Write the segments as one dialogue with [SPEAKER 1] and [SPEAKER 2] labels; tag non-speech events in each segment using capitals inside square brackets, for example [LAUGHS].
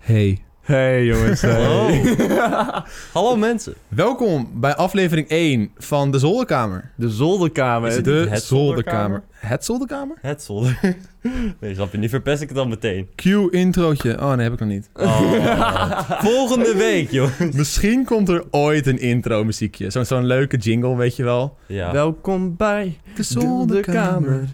[SPEAKER 1] Hey.
[SPEAKER 2] Hey jongens. Hey.
[SPEAKER 3] Hallo mensen.
[SPEAKER 1] Welkom bij aflevering 1 van De Zolderkamer.
[SPEAKER 2] De zolderkamer.
[SPEAKER 3] Is het
[SPEAKER 1] de
[SPEAKER 3] niet het
[SPEAKER 1] zolderkamer? Het zolderkamer?
[SPEAKER 3] Het zolder. [LAUGHS] Nee, snap je, nu verpest ik het dan meteen.
[SPEAKER 1] Q introotje. Oh, nee, heb ik nog
[SPEAKER 2] [LAUGHS]
[SPEAKER 1] niet.
[SPEAKER 3] Oh. Volgende week, joh.
[SPEAKER 1] Misschien komt er ooit een intro muziekje. Zo'n zo'n leuke jingle, weet je wel.
[SPEAKER 3] Ja.
[SPEAKER 2] Welkom bij
[SPEAKER 1] De
[SPEAKER 2] de kamer.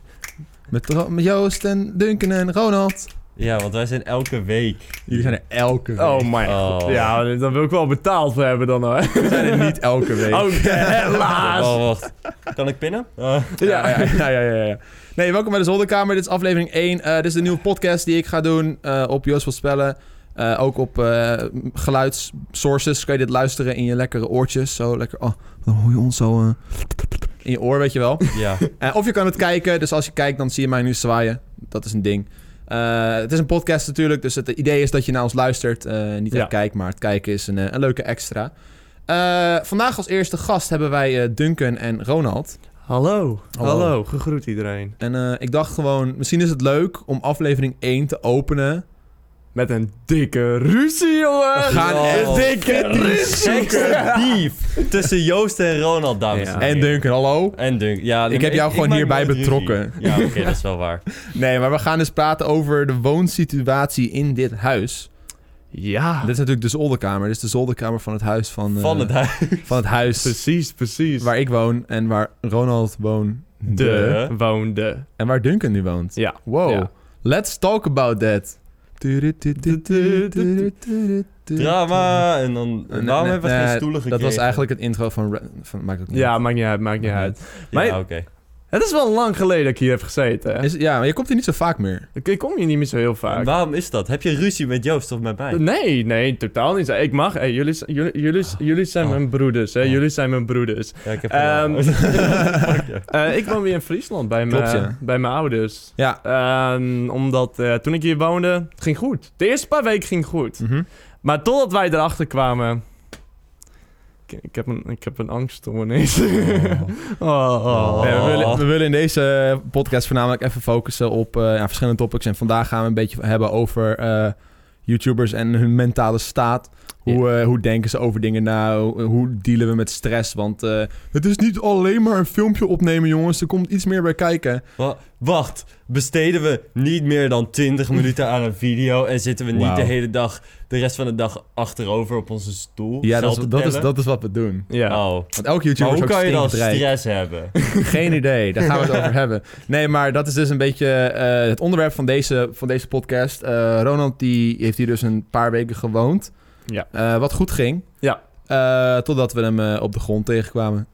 [SPEAKER 1] Met, Ro- met Joost en Duncan en Ronald.
[SPEAKER 3] ja, want wij zijn elke week.
[SPEAKER 1] Jullie zijn er elke week.
[SPEAKER 2] Oh my
[SPEAKER 3] Oh.
[SPEAKER 2] god. Ja, dan wil ik wel betaald voor hebben dan hoor.
[SPEAKER 1] We zijn er
[SPEAKER 2] [LAUGHS]
[SPEAKER 1] niet elke week.
[SPEAKER 2] Oké, helaas.
[SPEAKER 3] Oh, wacht. Kan ik pinnen? Eh,
[SPEAKER 1] Ja, ja, ja, ja, ja, ja. Nee, welkom bij de Zolderkamer. Dit is aflevering 1. Eh, dit is de nieuwe podcast die ik ga doen eh, op Joost van Spellen. Eh, ook op eh, geluidssources kan je dit luisteren in je lekkere oortjes. Zo lekker, oh, dan hoor je ons zo eh, in je oor, weet je wel.
[SPEAKER 3] ja.
[SPEAKER 1] Eh, of je kan het kijken, dus als je kijkt dan zie je mij nu zwaaien. Dat is een ding. Eh, het is een podcast natuurlijk, dus het idee is dat je naar ons luistert. eh, niet echt
[SPEAKER 2] Ja.
[SPEAKER 1] kijkt, maar het kijken is een, eh, een leuke extra. Eh, vandaag als eerste gast hebben wij eh, Duncan en Ronald.
[SPEAKER 2] Hallo.
[SPEAKER 1] Hallo.
[SPEAKER 2] Hallo, gegroet iedereen.
[SPEAKER 1] En eh, ik dacht gewoon, misschien is het leuk om aflevering 1 te openen.
[SPEAKER 2] Met een dikke ruzie, jongen.
[SPEAKER 1] We gaan
[SPEAKER 3] Oh.
[SPEAKER 1] echt
[SPEAKER 2] dikke
[SPEAKER 3] Extra dief tussen Joost en Ronald, dames
[SPEAKER 2] Ja.
[SPEAKER 3] en heren.
[SPEAKER 1] En Duncan, hallo.
[SPEAKER 3] En Dunk. Ja, nee,
[SPEAKER 1] Ik heb jou gewoon
[SPEAKER 3] maak
[SPEAKER 1] hierbij
[SPEAKER 3] nooit ruzie.
[SPEAKER 1] betrokken.
[SPEAKER 3] Ja, oké, dat is wel
[SPEAKER 1] [LAUGHS]
[SPEAKER 3] waar.
[SPEAKER 1] Nee, maar we gaan dus praten over de woonsituatie in dit huis.
[SPEAKER 2] Ja,
[SPEAKER 1] Dit is natuurlijk de zolderkamer. Dit is de zolderkamer van het huis van, eh,
[SPEAKER 3] Van het huis.
[SPEAKER 1] van het huis
[SPEAKER 2] precies, precies.
[SPEAKER 1] waar ik woon en waar Ronald woont.
[SPEAKER 3] De.
[SPEAKER 2] woonde.
[SPEAKER 1] En waar Duncan nu woont.
[SPEAKER 2] Ja.
[SPEAKER 1] Wow.
[SPEAKER 2] Ja.
[SPEAKER 1] Let's talk about that.
[SPEAKER 3] Drama. En dan.
[SPEAKER 1] Nee,
[SPEAKER 3] waarom
[SPEAKER 1] nee,
[SPEAKER 3] hebben we geen
[SPEAKER 1] nee,
[SPEAKER 3] stoelen
[SPEAKER 1] Dat
[SPEAKER 3] gekregen?
[SPEAKER 1] was eigenlijk het intro van... Ra- van maakt het niet
[SPEAKER 2] Ja,
[SPEAKER 1] uit.
[SPEAKER 2] maakt niet uit, maakt niet uit. Maar-
[SPEAKER 3] Ja, oké.
[SPEAKER 2] Het is wel lang geleden dat ik hier heb gezeten. Hè?
[SPEAKER 1] Is, ja, maar je komt hier niet zo vaak meer.
[SPEAKER 2] Ik- Ik kom hier niet meer zo heel vaak.
[SPEAKER 3] Waarom is dat? Heb je ruzie met Joost of met mij?
[SPEAKER 2] Nee, nee, totaal niet. Ik mag. Hey, jullie, z- jullie, jullie, z- jullie zijn
[SPEAKER 3] Oh.
[SPEAKER 2] mijn broeders. Hè?
[SPEAKER 3] Oh.
[SPEAKER 2] Jullie zijn mijn broeders.
[SPEAKER 3] Ja, ik heb [LAUGHS]
[SPEAKER 2] Ehm,
[SPEAKER 3] Fuck je.
[SPEAKER 2] Eh, ik woon weer in Friesland bij mijn,
[SPEAKER 1] Klopt, ja.
[SPEAKER 2] bij mijn ouders.
[SPEAKER 1] Ja.
[SPEAKER 2] Ehm, omdat eh, toen ik hier woonde, het ging goed. De eerste paar weken ging goed.
[SPEAKER 1] Mhm.
[SPEAKER 2] Maar totdat wij erachter kwamen. Ik, ik heb een, ik heb een angststoornis. [LAUGHS] oh, oh.
[SPEAKER 3] Oh.
[SPEAKER 1] Nee, we, willen,
[SPEAKER 3] Oh.
[SPEAKER 1] we willen in deze podcast voornamelijk even focussen op eh, ja, verschillende topics. En vandaag gaan we een beetje hebben over eh, YouTubers en hun mentale staat. Hoe, eh, hoe denken ze over dingen na? Hoe, eh, hoe dealen we met stress? Want eh, het is niet alleen maar een filmpje opnemen, jongens. Er komt iets meer bij kijken.
[SPEAKER 3] Wa- wacht, besteden we niet meer dan 20 minuten aan een video en zitten we niet
[SPEAKER 1] Wauw.
[SPEAKER 3] de hele dag, de rest van de dag achterover op onze stoel?
[SPEAKER 1] Ja,
[SPEAKER 3] zelf
[SPEAKER 1] dat is,
[SPEAKER 3] te
[SPEAKER 1] dat, is,
[SPEAKER 3] tellen?
[SPEAKER 1] dat is wat we doen.
[SPEAKER 2] Ja.
[SPEAKER 3] Oh.
[SPEAKER 1] Want elke
[SPEAKER 3] Maar
[SPEAKER 1] YouTuber
[SPEAKER 3] hoe
[SPEAKER 1] is ook
[SPEAKER 3] kan je dan
[SPEAKER 1] stinkend rijk.
[SPEAKER 3] stress hebben?
[SPEAKER 1] [LAUGHS] Geen idee, daar gaan we het over hebben. Nee, maar dat is dus een beetje eh, het onderwerp van deze, van deze podcast. Eh, Ronald die heeft hier dus een paar weken gewoond.
[SPEAKER 2] Ja.
[SPEAKER 1] Eh, wat goed ging.
[SPEAKER 2] Ja.
[SPEAKER 1] Eh, totdat we hem eh, op de grond tegenkwamen.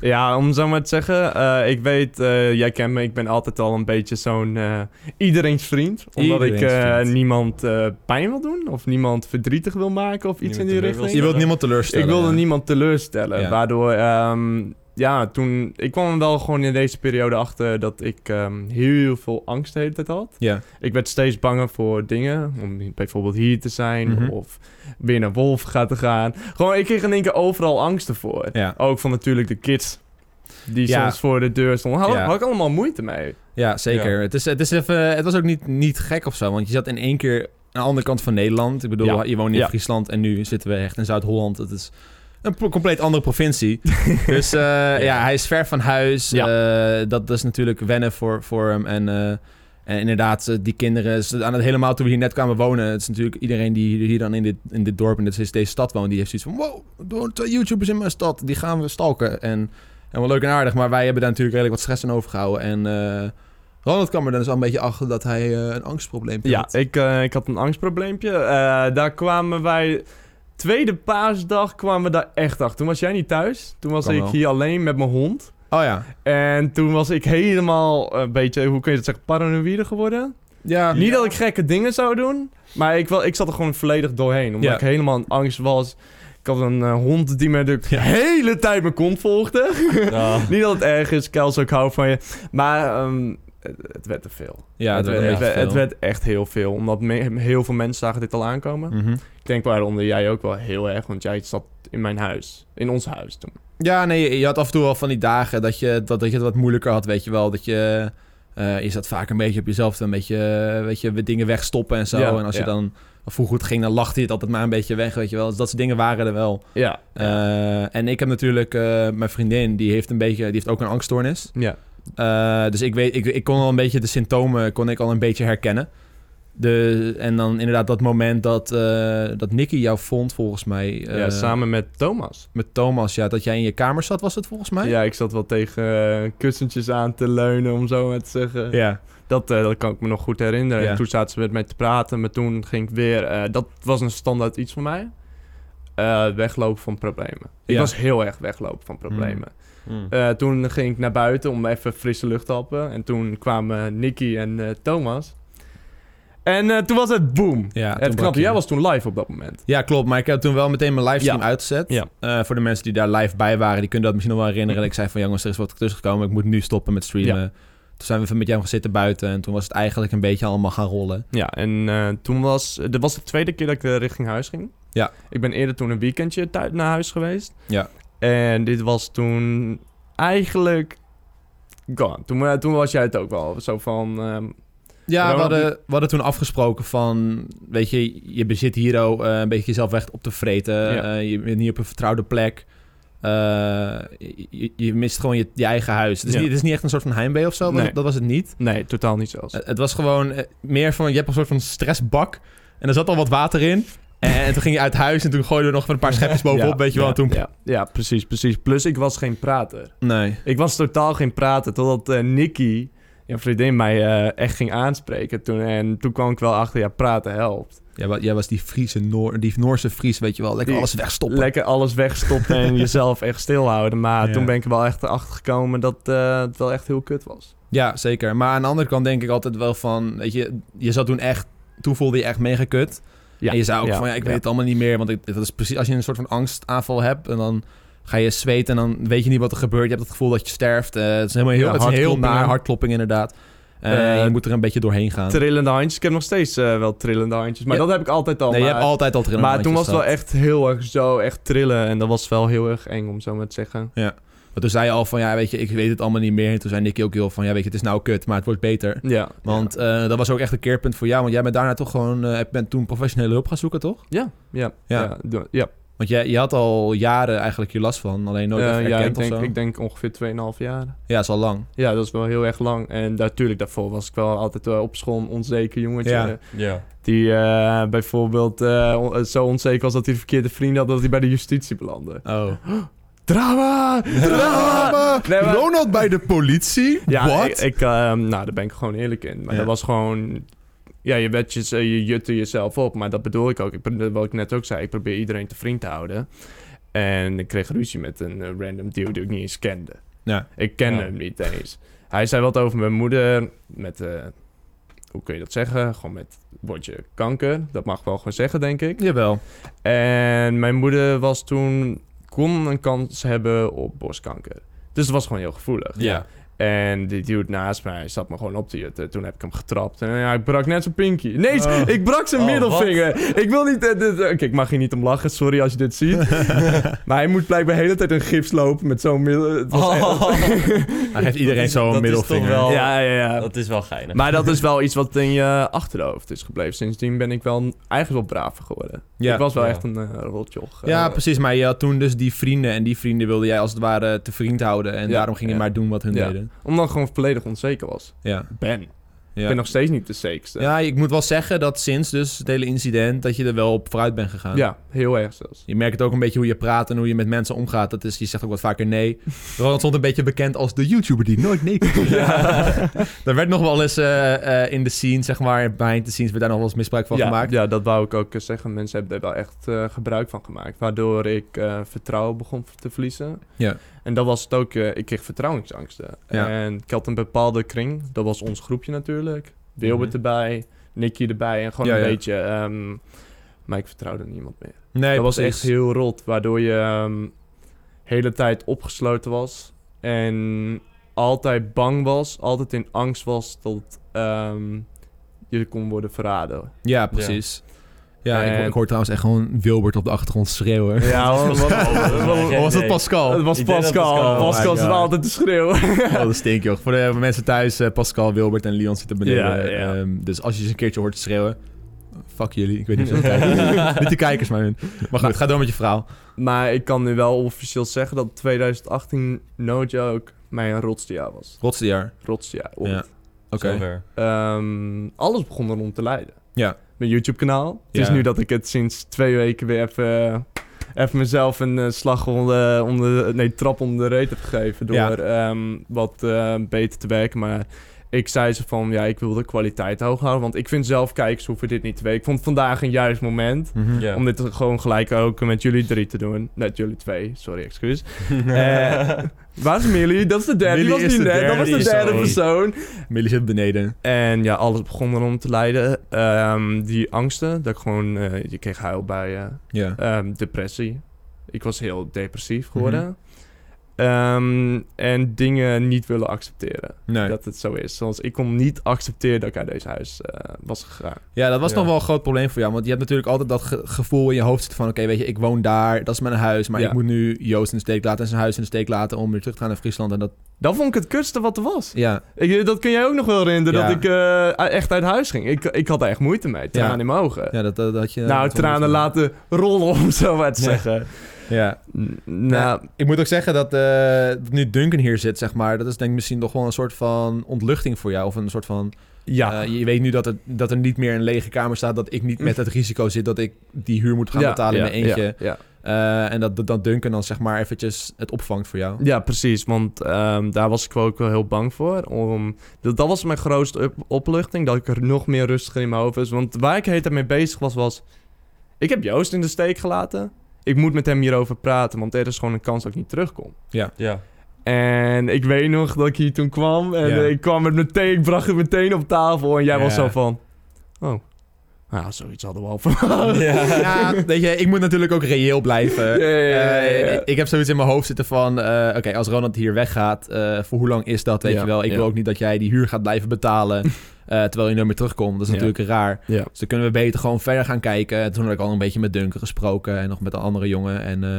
[SPEAKER 2] ja, om zo maar te zeggen. eh, ik weet, eh, jij kent me. Ik ben altijd al een beetje zo'n eh, iedereen's vriend. Omdat ik eh,
[SPEAKER 1] Iedereen's vriend.
[SPEAKER 2] niemand eh, pijn wil doen. Of niemand verdrietig wil maken. Of iets
[SPEAKER 3] Niemand
[SPEAKER 2] in die
[SPEAKER 3] teleur wil
[SPEAKER 2] richting.
[SPEAKER 1] Je wilt niemand teleurstellen.
[SPEAKER 2] Ik wilde
[SPEAKER 1] ja.
[SPEAKER 2] niemand teleurstellen.
[SPEAKER 1] Ja.
[SPEAKER 2] Waardoor, ehm, ja, toen. Ik kwam er wel gewoon in deze periode achter dat ik ehm, heel veel angst de hele tijd had.
[SPEAKER 1] Ja.
[SPEAKER 2] Ik werd steeds banger voor dingen. Om bijvoorbeeld hier te zijn
[SPEAKER 1] Mhm.
[SPEAKER 2] of weer naar Wolf gaat te gaan. Gewoon, ik kreeg in één keer overal angsten voor.
[SPEAKER 1] Ja.
[SPEAKER 2] Ook van natuurlijk de kids. Die
[SPEAKER 1] Ja.
[SPEAKER 2] soms voor de deur stonden. Had,
[SPEAKER 1] Ja.
[SPEAKER 2] had ik allemaal moeite mee.
[SPEAKER 1] ja, zeker. Het, is, het, is even, het was ook niet, niet gek of zo, want je zat in één keer aan de andere kant van Nederland. Ik bedoel,
[SPEAKER 2] Ja.
[SPEAKER 1] je woont in
[SPEAKER 2] Ja.
[SPEAKER 1] Friesland en nu zitten we echt in Zuid-Holland. Het is een pro- compleet andere provincie. dus eh, ja, hij is ver van huis. Eh, dat, dat is natuurlijk wennen voor, voor hem. En, eh, en inderdaad, eh, die kinderen, ze- aan het helemaal toen we hier net kwamen wonen, het is natuurlijk iedereen die hier- hier dan in dit, in dit dorp, in dit, deze stad woont, die heeft zoiets van, wow, er wonen twee YouTubers in mijn stad, die gaan we stalken. En, en wel leuk en aardig, maar wij hebben daar natuurlijk redelijk wat stress aan overgehouden. En eh, Ronald kwam er dan dus al een beetje achter dat hij eh, een angstprobleem had.
[SPEAKER 2] Ja, ik, eh, ik had een angstprobleempje. Eh, daar kwamen wij... Tweede paasdag kwamen we daar echt achter. Toen was jij niet thuis. Toen was
[SPEAKER 1] Kan
[SPEAKER 2] ik
[SPEAKER 1] wel.
[SPEAKER 2] hier alleen met mijn hond.
[SPEAKER 1] Oh ja.
[SPEAKER 2] En toen was ik helemaal eh, een beetje, hoe kun je dat zeggen, paranoïde geworden.
[SPEAKER 1] Ja,
[SPEAKER 2] Niet dat ik gekke dingen zou doen, maar ik, wel, ik zat er gewoon volledig doorheen. Omdat
[SPEAKER 1] Ja.
[SPEAKER 2] ik helemaal in angst was. Ik had een eh, hond die me de hele tijd mijn kont
[SPEAKER 1] [LAUGHS]
[SPEAKER 2] volgde.
[SPEAKER 3] Ja.
[SPEAKER 2] Niet dat het erg is, Kels, ik hou van je. Maar ehm, het, het werd te veel.
[SPEAKER 1] ja,
[SPEAKER 2] het,
[SPEAKER 1] dat
[SPEAKER 2] werd,
[SPEAKER 1] weet
[SPEAKER 2] het,
[SPEAKER 1] ik
[SPEAKER 2] werd,
[SPEAKER 1] veel.
[SPEAKER 2] het werd echt heel veel, omdat me- heel veel mensen zagen dit al aankomen.
[SPEAKER 1] Mhm.
[SPEAKER 2] Ik denk waaronder jij ook wel heel erg, want jij zat in mijn huis, in ons huis toen.
[SPEAKER 1] Ja, nee, je- je had af en toe wel van die dagen dat je, dat, dat je het wat moeilijker had, weet je wel. Dat je eh, je zat vaak een beetje op jezelf, te een beetje, eh, weet je, dingen wegstoppen en zo.
[SPEAKER 2] Ja,
[SPEAKER 1] en als
[SPEAKER 2] ja.
[SPEAKER 1] je dan vroeger het ging, dan lachte je het altijd maar een beetje weg, weet je wel. Dus dat soort dingen waren er wel.
[SPEAKER 2] Ja.
[SPEAKER 1] Eh, en ik heb natuurlijk eh, mijn vriendin, die heeft een beetje, die heeft ook een angststoornis.
[SPEAKER 2] ja.
[SPEAKER 1] Eh, dus ik, weet, ik, ik kon al een beetje de symptomen kon ik al een beetje herkennen. De, en dan inderdaad dat moment dat, eh, dat Nicky jou vond, volgens mij.
[SPEAKER 2] ja,
[SPEAKER 1] eh,
[SPEAKER 2] samen met Thomas.
[SPEAKER 1] Met Thomas, ja. Dat jij in je kamer zat, was het volgens mij?
[SPEAKER 2] Ja, ik zat wel tegen eh, kussentjes aan te leunen, om zo maar te zeggen.
[SPEAKER 1] Ja.
[SPEAKER 2] Dat, eh, dat kan ik me nog goed herinneren.
[SPEAKER 1] Ja.
[SPEAKER 2] En toen zaten ze met mij te praten, maar toen ging ik weer... eh, dat was een standaard iets voor mij. Eh, weglopen van problemen. Ik
[SPEAKER 1] Ja. Hm.
[SPEAKER 2] was heel erg weglopen van problemen.
[SPEAKER 3] Hmm.
[SPEAKER 2] Eh, toen ging ik naar buiten om even frisse lucht te happen. En toen kwamen Nicky en eh, Thomas. En eh, toen was het boom.
[SPEAKER 1] Ja, toen
[SPEAKER 2] het
[SPEAKER 1] brak
[SPEAKER 2] knapte,
[SPEAKER 1] je.
[SPEAKER 2] jij was toen live op dat moment.
[SPEAKER 1] Ja, klopt. Maar ik heb toen wel meteen mijn livestream
[SPEAKER 2] Ja.
[SPEAKER 1] uitgezet.
[SPEAKER 3] Ja.
[SPEAKER 1] Eh, voor de mensen die daar live bij waren, die kunnen dat misschien nog wel herinneren. Ik zei van, jongens, er is wat tussen gekomen. Ik moet nu stoppen met streamen. Toen zijn we even met jou gaan zitten buiten. En toen was het eigenlijk een beetje allemaal gaan rollen.
[SPEAKER 2] Ja, en eh, toen was... Dat was de tweede keer dat ik eh, richting huis ging.
[SPEAKER 1] Ja.
[SPEAKER 2] Ik ben eerder toen een weekendje thuis naar huis geweest.
[SPEAKER 1] Ja.
[SPEAKER 2] En dit was toen eigenlijk... Gone. Toen, eh, toen was jij het ook wel. Zo van... ehm,
[SPEAKER 1] Ja, we
[SPEAKER 2] Ronald,
[SPEAKER 1] hadden, we hadden toen afgesproken van, weet je, je bezit hier ook eh, een beetje jezelf weg op te vreten.
[SPEAKER 2] Ja.
[SPEAKER 1] Eh, je bent niet op een vertrouwde plek. Eh, je- je, je mist gewoon je, je eigen huis. Het is,
[SPEAKER 2] Ja.
[SPEAKER 1] niet, het is niet echt een soort van heimwee of zo.
[SPEAKER 2] Nee.
[SPEAKER 1] Dat, dat was het niet.
[SPEAKER 2] nee, totaal niet zelfs.
[SPEAKER 1] Het het was gewoon eh, meer van, je hebt een soort van stressbak. En er zat al wat water in. En, en toen ging je uit huis en toen gooiden we nog een paar schepjes bovenop,
[SPEAKER 2] [LAUGHS] Ja,
[SPEAKER 1] weet je wel.
[SPEAKER 2] ja,
[SPEAKER 1] en toen...
[SPEAKER 2] Ja, ja, precies, precies. Plus ik was geen prater.
[SPEAKER 1] Nee.
[SPEAKER 2] Ik was totaal geen prater, totdat eh, Nicky, een vriendin, mij eh, echt ging aanspreken. Toen, en toen kwam ik wel achter, ja, praten helpt.
[SPEAKER 1] Jij, wa- jij was die Friese Noor, die Noorse Fries, weet je wel. Lekker
[SPEAKER 2] Die-
[SPEAKER 1] alles wegstoppen.
[SPEAKER 2] Lekker alles wegstoppen
[SPEAKER 1] [LAUGHS]
[SPEAKER 2] en jezelf echt stilhouden. Maar
[SPEAKER 1] Ja.
[SPEAKER 2] toen ben ik er wel echt achter gekomen dat eh, het wel echt heel kut was.
[SPEAKER 1] Ja, zeker. Maar aan de andere kant denk ik altijd wel van, weet je, je zat toen echt, toen voelde je echt mega kut.
[SPEAKER 2] Ja,
[SPEAKER 1] En je zei ook
[SPEAKER 2] ja,
[SPEAKER 1] van, ja, ik weet
[SPEAKER 2] ja.
[SPEAKER 1] het allemaal niet meer. Want ik, dat is precies, als je een soort van angstaanval hebt en dan ga je zweten en dan weet je niet wat er gebeurt. Je hebt het gevoel dat je sterft. Eh, het is helemaal heel,
[SPEAKER 2] Ja,
[SPEAKER 1] het is heel
[SPEAKER 2] hartkloppingen.
[SPEAKER 1] naar, hartklopping inderdaad. Eh,
[SPEAKER 2] Eh,
[SPEAKER 1] je moet er een beetje doorheen gaan.
[SPEAKER 2] Trillende handjes. Ik heb nog steeds eh, wel trillende handjes. Maar
[SPEAKER 1] Ja.
[SPEAKER 2] dat heb ik altijd al.
[SPEAKER 1] Nee, je
[SPEAKER 2] maar
[SPEAKER 1] hebt altijd al trillende
[SPEAKER 2] maar toen was
[SPEAKER 1] handjes
[SPEAKER 2] het wel
[SPEAKER 1] gehad.
[SPEAKER 2] echt heel erg zo, echt trillen. En dat was wel heel erg eng, om zo maar te
[SPEAKER 1] [LAUGHS]
[SPEAKER 2] zeggen.
[SPEAKER 1] Maar toen zei je al van, ja, weet je, ik weet het allemaal niet meer. En toen zei Nicky ook heel van, ja, weet je, het is nou kut, maar het wordt beter.
[SPEAKER 2] Ja.
[SPEAKER 1] Want eh, dat was ook echt een keerpunt voor jou. Want jij bent daarna toch gewoon, eh bent toen professionele hulp gaan zoeken, toch?
[SPEAKER 2] Ja, ja,
[SPEAKER 1] Ja.
[SPEAKER 2] ja. ja, do- ja.
[SPEAKER 1] Want jij, je had al jaren eigenlijk je last van, alleen nooit echt
[SPEAKER 2] Eh, ja, ik
[SPEAKER 1] erkend
[SPEAKER 2] denk,
[SPEAKER 1] of zo.
[SPEAKER 2] ik denk ongeveer 2,5 jaar.
[SPEAKER 1] Ja, dat is al lang.
[SPEAKER 2] Ja, dat is wel heel erg lang. En natuurlijk, daarvoor was ik wel altijd wel op school een onzeker jongetje.
[SPEAKER 1] Ja.
[SPEAKER 3] Ja.
[SPEAKER 2] Die eh, bijvoorbeeld eh, on- zo onzeker was dat hij verkeerde vrienden had dat hij bij de justitie belandde.
[SPEAKER 1] [LAUGHS] Oh.
[SPEAKER 2] [LAUGHS] Drama! Drama! Nee, maar-
[SPEAKER 1] Ronald bij de politie?
[SPEAKER 2] Ja, ik, ik, ehm, nou, daar ben ik gewoon eerlijk in. Maar
[SPEAKER 1] Ja.
[SPEAKER 2] dat was gewoon... Ja, je, werd je, je jutte jezelf op, maar dat bedoel ik ook. Ik, pro- wat ik net ook zei, ik probeer iedereen te vriend te houden. En ik kreeg ruzie met een eh, random dude die ik niet eens kende.
[SPEAKER 1] Ja.
[SPEAKER 2] Ik kende
[SPEAKER 3] Ja.
[SPEAKER 2] hem niet eens. Hij zei wat over mijn moeder met... eh, hoe kun je dat zeggen? Gewoon met het woordje kanker. Dat mag ik wel gewoon zeggen, denk ik.
[SPEAKER 1] Jawel.
[SPEAKER 2] En mijn moeder was toen... kon een kans hebben op borstkanker. Dus dat was gewoon heel gevoelig.
[SPEAKER 1] Ja.
[SPEAKER 2] En die dude naast mij zat me gewoon op te jutten. Toen heb ik hem getrapt. En ja, ik brak net zijn pinky. Nee,
[SPEAKER 3] Oh.
[SPEAKER 2] ik brak zijn
[SPEAKER 3] Oh,
[SPEAKER 2] middelvinger. Ik wil niet... eh, dit- eh, Oké, ik mag hier niet om lachen. Sorry als je dit ziet. maar hij moet blijkbaar de hele tijd een gips lopen met zo'n middel... het was echt- [LAUGHS]
[SPEAKER 1] Hij geeft iedereen
[SPEAKER 3] is-
[SPEAKER 1] zo'n
[SPEAKER 3] dat is
[SPEAKER 1] middelvinger.
[SPEAKER 3] toch wel-
[SPEAKER 2] ja, ja, ja.
[SPEAKER 3] [LAUGHS] Dat is wel geinig.
[SPEAKER 2] Maar dat is wel iets wat in je achterhoofd is gebleven. Sindsdien ben ik wel een- eigenlijk wel braver geworden.
[SPEAKER 1] Ja.
[SPEAKER 2] ik was wel
[SPEAKER 3] Ja.
[SPEAKER 2] echt een uh, rotjoch. eh.
[SPEAKER 1] Ja, precies. Maar je had toen dus die vrienden. En die vrienden wilde jij als het ware te vriend houden. En
[SPEAKER 2] Ja,
[SPEAKER 1] daarom ging je
[SPEAKER 2] ja.
[SPEAKER 1] maar doen wat hun
[SPEAKER 2] Ja.
[SPEAKER 1] deden.
[SPEAKER 2] Omdat ik gewoon volledig onzeker was.
[SPEAKER 1] Ja.
[SPEAKER 2] Ben. Ik
[SPEAKER 1] Ja.
[SPEAKER 2] ben nog steeds niet de zekerste.
[SPEAKER 1] ja, ik moet wel zeggen dat sinds dus het hele incident... dat je er wel op vooruit bent gegaan.
[SPEAKER 2] ja heel erg zelfs.
[SPEAKER 1] Je merkt ook een beetje hoe je praat en hoe je met mensen omgaat. Dat is, je zegt ook wat vaker
[SPEAKER 2] [LAUGHS]
[SPEAKER 1] nee. Ronald stond een beetje bekend als de YouTuber die nooit nee kon doen. [LAUGHS] Daar werd nog wel eens eh, eh, in de scene, zeg maar, behind the scenes... werd daar nog wel eens misbruik van
[SPEAKER 2] ja,
[SPEAKER 1] gemaakt.
[SPEAKER 2] Ja, dat wou ik ook eh, zeggen. Mensen hebben daar wel echt eh, gebruik van gemaakt. Waardoor ik eh, vertrouwen begon te verliezen.
[SPEAKER 1] Ja.
[SPEAKER 2] En dat was het ook. eh, ik kreeg vertrouwensangsten.
[SPEAKER 1] Ja.
[SPEAKER 2] En ik had een bepaalde kring. Dat was ons groepje natuurlijk. Wilbert
[SPEAKER 1] Mhm.
[SPEAKER 2] erbij. Nicky erbij. En gewoon
[SPEAKER 1] Ja,
[SPEAKER 2] een
[SPEAKER 1] ja.
[SPEAKER 2] beetje... ehm, maar ik vertrouwde niemand meer.
[SPEAKER 1] Nee,
[SPEAKER 2] dat was
[SPEAKER 1] precies.
[SPEAKER 2] echt heel rot. Waardoor je ehm, de hele tijd opgesloten was. En altijd bang was. Altijd in angst was dat ehm, je kon worden verraden.
[SPEAKER 1] Ja, precies. Ja. Ja, ik,
[SPEAKER 2] En-
[SPEAKER 1] ik hoor trouwens echt gewoon Wilbert op de achtergrond schreeuwen.
[SPEAKER 2] Ja,
[SPEAKER 1] [LAUGHS]
[SPEAKER 2] wat, wat,
[SPEAKER 1] Of was dat
[SPEAKER 3] Nee.
[SPEAKER 1] Pascal?
[SPEAKER 2] Het was
[SPEAKER 3] Ik denk dat
[SPEAKER 2] Pascal.
[SPEAKER 3] Pascal-
[SPEAKER 1] Oh
[SPEAKER 2] Pascal,
[SPEAKER 1] my
[SPEAKER 2] zit
[SPEAKER 1] God.
[SPEAKER 2] altijd te schreeuwen.
[SPEAKER 1] Oh, dat stinkt, joh. Voor de mensen thuis, eh, Pascal, Wilbert en Leon zitten beneden.
[SPEAKER 2] Ja, ja.
[SPEAKER 1] Ehm, dus als je eens een keertje hoort schreeuwen... Fuck jullie, ik weet niet of ze
[SPEAKER 2] [LAUGHS]
[SPEAKER 1] kijken. Niet de kijkers, maar hun. Maar goed, ga door met je verhaal.
[SPEAKER 2] Maar ik kan nu wel officieel zeggen dat 2018, no joke, mijn rotste jaar was.
[SPEAKER 1] Rotste jaar.
[SPEAKER 2] Rotste jaar.
[SPEAKER 1] Ja.
[SPEAKER 2] ooit.
[SPEAKER 1] Oké.
[SPEAKER 3] Zover.
[SPEAKER 2] Ehm, alles begon erom te leiden.
[SPEAKER 1] Ja.
[SPEAKER 2] Mijn YouTube-kanaal. Het is
[SPEAKER 1] Ja.
[SPEAKER 2] nu dat ik het sinds twee weken weer even, even mezelf een eh, slag onder, onder, nee, trap onder de reet heb gegeven. Door
[SPEAKER 1] Ja.
[SPEAKER 2] ehm, wat eh, beter te werken. Maar ik zei ze van, ja, ik wil de kwaliteit hoog houden. Want ik vind zelf, kijkers hoeven dit niet te weten. Ik vond vandaag een juist moment.
[SPEAKER 1] Mhm.
[SPEAKER 3] Ja. [LAUGHS]
[SPEAKER 2] Om dit gewoon gelijk ook met jullie drie te doen. Net jullie twee, sorry, excuus. Eh, Waar is Millie? Dat is de derde. Die
[SPEAKER 1] Millie
[SPEAKER 2] was
[SPEAKER 1] is
[SPEAKER 2] niet
[SPEAKER 1] de
[SPEAKER 2] net. Dat was de
[SPEAKER 1] derde
[SPEAKER 2] derde
[SPEAKER 1] persoon.
[SPEAKER 2] persoon.
[SPEAKER 1] Millie zit beneden.
[SPEAKER 2] En ja, alles begon erom te leiden. Ehm, die angsten, dat ik gewoon... eh, je kreeg huilbuien.
[SPEAKER 1] Ja.
[SPEAKER 2] Ehm depressie. Ik was heel depressief geworden.
[SPEAKER 1] Mhm.
[SPEAKER 2] Ehm, en dingen niet willen accepteren.
[SPEAKER 1] Nee.
[SPEAKER 2] Dat het zo is. Zoals ik kon niet accepteren dat ik uit deze huis eh, was gegaan.
[SPEAKER 1] Ja, dat was
[SPEAKER 3] Ja.
[SPEAKER 1] nog wel een groot probleem voor jou. Want je hebt natuurlijk altijd dat ge- gevoel in je hoofd zitten van... oké, weet je, ik woon daar, dat is mijn huis... maar
[SPEAKER 2] Ja.
[SPEAKER 1] ik moet nu Joost in de steek laten en zijn huis in de steek laten... om weer terug te gaan naar Friesland. En dat,
[SPEAKER 2] Dat vond ik het kutste wat er was.
[SPEAKER 1] ja,
[SPEAKER 2] Ik, dat kun jij ook nog wel herinneren,
[SPEAKER 1] Ja.
[SPEAKER 2] dat ik eh, echt uit huis ging. Ik, ik had er echt moeite mee, tranen
[SPEAKER 1] Ja.
[SPEAKER 2] in mijn ogen.
[SPEAKER 1] ja dat, dat, dat je...
[SPEAKER 2] nou,
[SPEAKER 1] dat wel
[SPEAKER 2] tranen
[SPEAKER 1] moet-
[SPEAKER 2] laten rollen, om het zo maar te
[SPEAKER 3] Ja.
[SPEAKER 2] zeggen.
[SPEAKER 1] Ja.
[SPEAKER 2] N- Nou,
[SPEAKER 1] Ik moet ook zeggen dat, eh, dat nu Duncan hier zit, zeg maar... dat is denk ik misschien toch wel een soort van ontluchting voor jou. Of een soort van...
[SPEAKER 2] ja. Mm.
[SPEAKER 1] eh, je weet nu dat, het, dat er niet meer een lege kamer staat... dat ik niet met het risico zit dat ik die huur moet gaan
[SPEAKER 2] Ja,
[SPEAKER 1] betalen
[SPEAKER 2] ja,
[SPEAKER 1] in mijn eentje.
[SPEAKER 2] Ja, ja.
[SPEAKER 1] Eh, en dat, dat dat Duncan dan zeg maar eventjes het opvangt voor jou.
[SPEAKER 2] Ja, precies. Want ehm, daar was ik wel ook wel heel bang voor. Om, dat, dat was mijn grootste op- opluchting. Dat ik er nog meer rustiger in mijn hoofd was. Want waar ik de hele tijd mee bezig was, was... Ik heb Joost in de steek gelaten. Ik moet met hem hierover praten. Want er is gewoon een kans dat ik niet terugkom.
[SPEAKER 3] Ja.
[SPEAKER 2] En ik weet nog dat ik hier toen kwam. En
[SPEAKER 1] Ja.
[SPEAKER 2] eh, ik kwam het meteen, ik bracht het meteen op tafel. En jij was
[SPEAKER 1] Ja.
[SPEAKER 2] zo van... Oh, nou, zoiets hadden we al [LAUGHS] verwacht.
[SPEAKER 1] [LAUGHS]
[SPEAKER 3] Ja.
[SPEAKER 1] Ja, weet je, ik moet natuurlijk ook reëel blijven.
[SPEAKER 2] Ja, ja, ja,
[SPEAKER 1] Eh,
[SPEAKER 2] ja, ja.
[SPEAKER 1] ik- Ik heb zoiets in mijn hoofd zitten van... eh, Oké, als Ronald hier weggaat, eh, voor hoe lang is dat, weet
[SPEAKER 2] Ja,
[SPEAKER 1] je wel? Ik
[SPEAKER 2] ja.
[SPEAKER 1] wil ook niet dat jij die huur gaat blijven
[SPEAKER 2] [LAUGHS]
[SPEAKER 1] betalen... eh, terwijl je nooit meer terugkomt. Dat is
[SPEAKER 2] Ja.
[SPEAKER 1] natuurlijk raar.
[SPEAKER 2] Ja.
[SPEAKER 1] Dus dan kunnen we beter gewoon verder gaan kijken. En toen had ik al een beetje met Duncan gesproken... en nog met een andere jongen. En eh,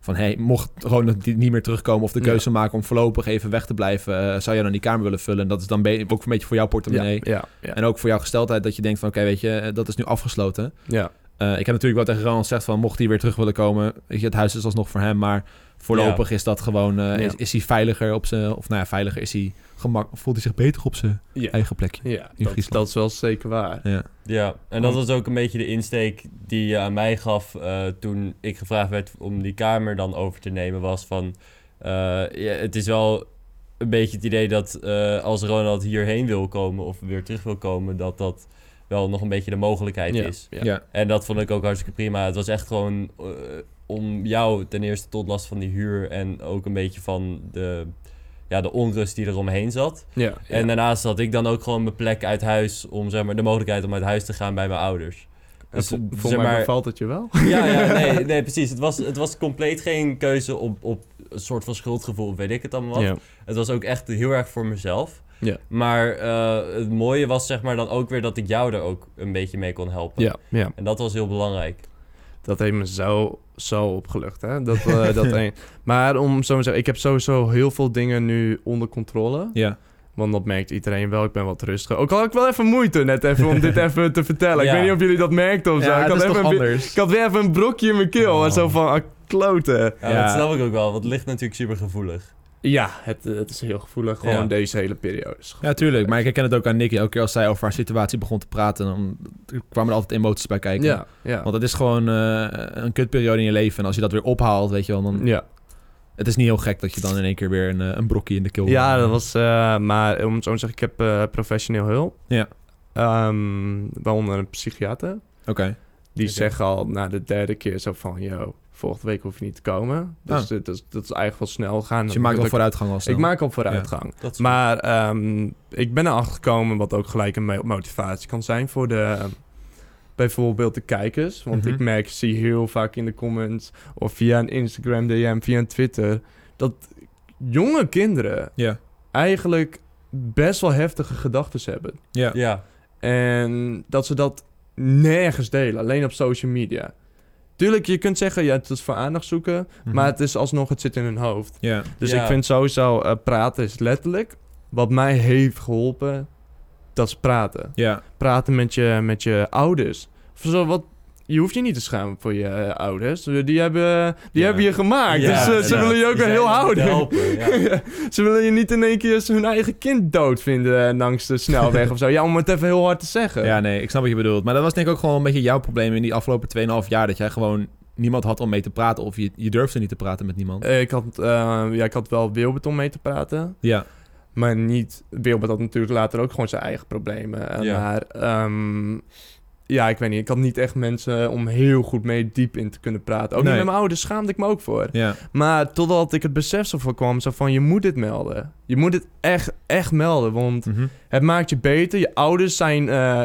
[SPEAKER 1] van, hey, mocht Ronald niet meer terugkomen... of de keuze maken om voorlopig even weg te blijven... eh, zou jij dan die kamer willen vullen? En dat is dan be- ook een beetje voor jouw
[SPEAKER 2] Ja,
[SPEAKER 1] portemonnee.
[SPEAKER 2] ja, ja,
[SPEAKER 1] En ook voor jouw gesteldheid dat je denkt van... Oké, weet je, eh, dat is nu afgesloten...
[SPEAKER 2] ja.
[SPEAKER 1] Eh, ik heb natuurlijk wel tegen Ronald gezegd van... mocht hij weer terug willen komen... Weet je, het huis is alsnog voor hem, maar... voorlopig is dat gewoon... eh,
[SPEAKER 2] Ja.
[SPEAKER 1] is, is hij veiliger op zijn... of nou ja, veiliger is hij... Gemak, voelt hij zich beter op zijn
[SPEAKER 2] Ja.
[SPEAKER 1] eigen plekje.
[SPEAKER 2] Ja,
[SPEAKER 1] In
[SPEAKER 2] dat,
[SPEAKER 1] Friesland.
[SPEAKER 2] dat is wel zeker waar.
[SPEAKER 1] Ja.
[SPEAKER 3] Ja, en dat was ook een beetje de insteek die je aan mij gaf eh, toen ik gevraagd werd om die kamer dan over te nemen. Was van, eh, ja, het is wel een beetje het idee dat eh, als Ronald hierheen wil komen of weer terug wil komen, dat dat wel nog een beetje de mogelijkheid
[SPEAKER 2] Ja,
[SPEAKER 3] is.
[SPEAKER 1] Ja.
[SPEAKER 2] ja.
[SPEAKER 3] En dat vond ik ook hartstikke prima. Het was echt gewoon eh, om jou ten eerste tot last van die huur en ook een beetje van de, ja, de onrust die er omheen zat.
[SPEAKER 2] Ja,
[SPEAKER 3] En daarnaast had ik dan ook gewoon mijn plek uit huis om zeg maar de mogelijkheid om uit huis te gaan bij mijn ouders.
[SPEAKER 2] En
[SPEAKER 3] Dus,
[SPEAKER 2] vol-
[SPEAKER 3] zeg
[SPEAKER 2] volgens mij
[SPEAKER 3] maar-
[SPEAKER 2] bevalt het je wel.
[SPEAKER 3] [LAUGHS] Ja, ja [LAUGHS] nee, nee, precies. Het was, het was compleet geen keuze op, op een soort van schuldgevoel, of weet ik het allemaal wat.
[SPEAKER 2] [LAUGHS] Ja.
[SPEAKER 3] Het was ook echt heel erg voor mezelf.
[SPEAKER 2] Ja.
[SPEAKER 3] Maar eh, het mooie was zeg maar dan ook weer dat ik jou er ook een beetje mee kon helpen.
[SPEAKER 2] Ja, ja.
[SPEAKER 3] En dat was heel belangrijk.
[SPEAKER 2] Dat heeft me zo, zo opgelucht. Hè? Dat, eh, [LAUGHS] dat een. Maar om zo te zeggen, ik heb sowieso heel veel dingen nu onder controle.
[SPEAKER 1] Ja.
[SPEAKER 2] Want dat merkt iedereen wel. Ik ben wat rustiger. Ook al had ik wel even moeite net even om [LAUGHS] dit even te vertellen. Ik
[SPEAKER 3] Ja.
[SPEAKER 2] weet niet of jullie dat merkten of Oh, zo. ik,
[SPEAKER 1] het
[SPEAKER 2] had
[SPEAKER 1] is
[SPEAKER 2] even
[SPEAKER 1] toch
[SPEAKER 2] een bi-
[SPEAKER 1] anders.
[SPEAKER 2] ik had weer even een brokje in mijn keel.
[SPEAKER 3] Oh.
[SPEAKER 2] En zo van, ah, kloten.
[SPEAKER 3] Ja,
[SPEAKER 1] Ja.
[SPEAKER 3] Dat snap ik ook wel, want het ligt natuurlijk super gevoelig.
[SPEAKER 2] Ja, het, eh, het is heel gevoelig. Gewoon
[SPEAKER 3] Ja.
[SPEAKER 2] deze hele periode. is
[SPEAKER 1] Ja, tuurlijk. Maar ik herken het ook aan Nicky. Elke keer als zij over haar situatie begon te praten... dan kwamen er altijd emoties bij kijken.
[SPEAKER 2] Ja, ja.
[SPEAKER 1] Want het is gewoon eh, een kutperiode in je leven. En als je dat weer ophaalt, weet je wel, dan...
[SPEAKER 2] ja.
[SPEAKER 1] Het is niet heel gek dat je dan in één keer weer een, eh, een brokje in de keel...
[SPEAKER 2] Ja, dat was. eh, maar om het zo te zeggen, ik heb eh, professioneel hulp.
[SPEAKER 1] Ja.
[SPEAKER 2] Ehm, waaronder een psychiater.
[SPEAKER 1] Oké.
[SPEAKER 2] Die
[SPEAKER 3] Oké.
[SPEAKER 2] zeggen al na de derde keer zo van: yo, volgende week hoef je niet te komen. Dus
[SPEAKER 1] Ah.
[SPEAKER 2] dit is, dat is eigenlijk wel snel gaan.
[SPEAKER 1] Dus je maakt al
[SPEAKER 2] Dat-
[SPEAKER 1] vooruitgang al snel.
[SPEAKER 2] Ik maak al vooruitgang.
[SPEAKER 3] Dat is
[SPEAKER 2] Maar ehm, ik ben erachter gekomen wat ook gelijk een mo- motivatie kan zijn voor de. Bijvoorbeeld de kijkers. Want
[SPEAKER 1] Mhm.
[SPEAKER 2] ik merk, zie heel vaak in de comments of via een Instagram DM, via een Twitter. Dat jonge kinderen
[SPEAKER 1] Ja.
[SPEAKER 2] eigenlijk best wel heftige gedachten hebben.
[SPEAKER 1] Ja.
[SPEAKER 3] Ja,
[SPEAKER 2] En dat ze dat nergens delen. Alleen op social media. Tuurlijk, je kunt zeggen, ja, het is voor aandacht zoeken. Maar het is alsnog, het zit in hun hoofd.
[SPEAKER 1] Mhm. Ja.
[SPEAKER 2] Dus
[SPEAKER 3] Mhm. Ja.
[SPEAKER 2] ik vind sowieso, eh, praten is letterlijk. Wat mij heeft geholpen, dat is praten
[SPEAKER 1] Ja.
[SPEAKER 2] praten met je, met je ouders. Of Zo, wat, je hoeft je niet te schamen voor je eh, ouders. Die hebben, die
[SPEAKER 3] Ja.
[SPEAKER 2] hebben je gemaakt. dus eh, ze
[SPEAKER 3] inderdaad.
[SPEAKER 2] willen je ook
[SPEAKER 3] Die
[SPEAKER 2] weer
[SPEAKER 3] zijn
[SPEAKER 2] heel
[SPEAKER 3] om je te
[SPEAKER 2] houden.
[SPEAKER 3] helpen, [LAUGHS] ja.
[SPEAKER 2] [LAUGHS] ze willen je niet in één keer hun eigen kind dood vinden eh, langs de
[SPEAKER 1] [LAUGHS]
[SPEAKER 2] snelweg of zo. Ja, om het even heel hard te zeggen.
[SPEAKER 1] ja, nee, ik snap wat je bedoelt. Maar dat was denk ik ook gewoon een beetje jouw probleem in die afgelopen 2,5 jaar. Dat jij gewoon niemand had om mee te praten. Of je, je durfde niet te praten met niemand.
[SPEAKER 2] Eh, Ik had, eh, ja, ik had wel Wilbert om mee te praten.
[SPEAKER 1] Ja.
[SPEAKER 2] Maar niet... Wilbert had natuurlijk later ook gewoon zijn eigen problemen. eh,
[SPEAKER 3] Ja.
[SPEAKER 2] Maar ehm, ja, ik weet niet. Ik had niet echt mensen om heel goed mee diep in te kunnen praten. Ook
[SPEAKER 1] Nee.
[SPEAKER 2] niet met mijn ouders schaamde ik me ook voor.
[SPEAKER 1] Ja.
[SPEAKER 2] Maar totdat ik het besef zo voor kwam, zo van je moet dit melden. Je moet dit echt, echt melden, want
[SPEAKER 1] Mhm.
[SPEAKER 2] het maakt je beter. Je ouders zijn, eh,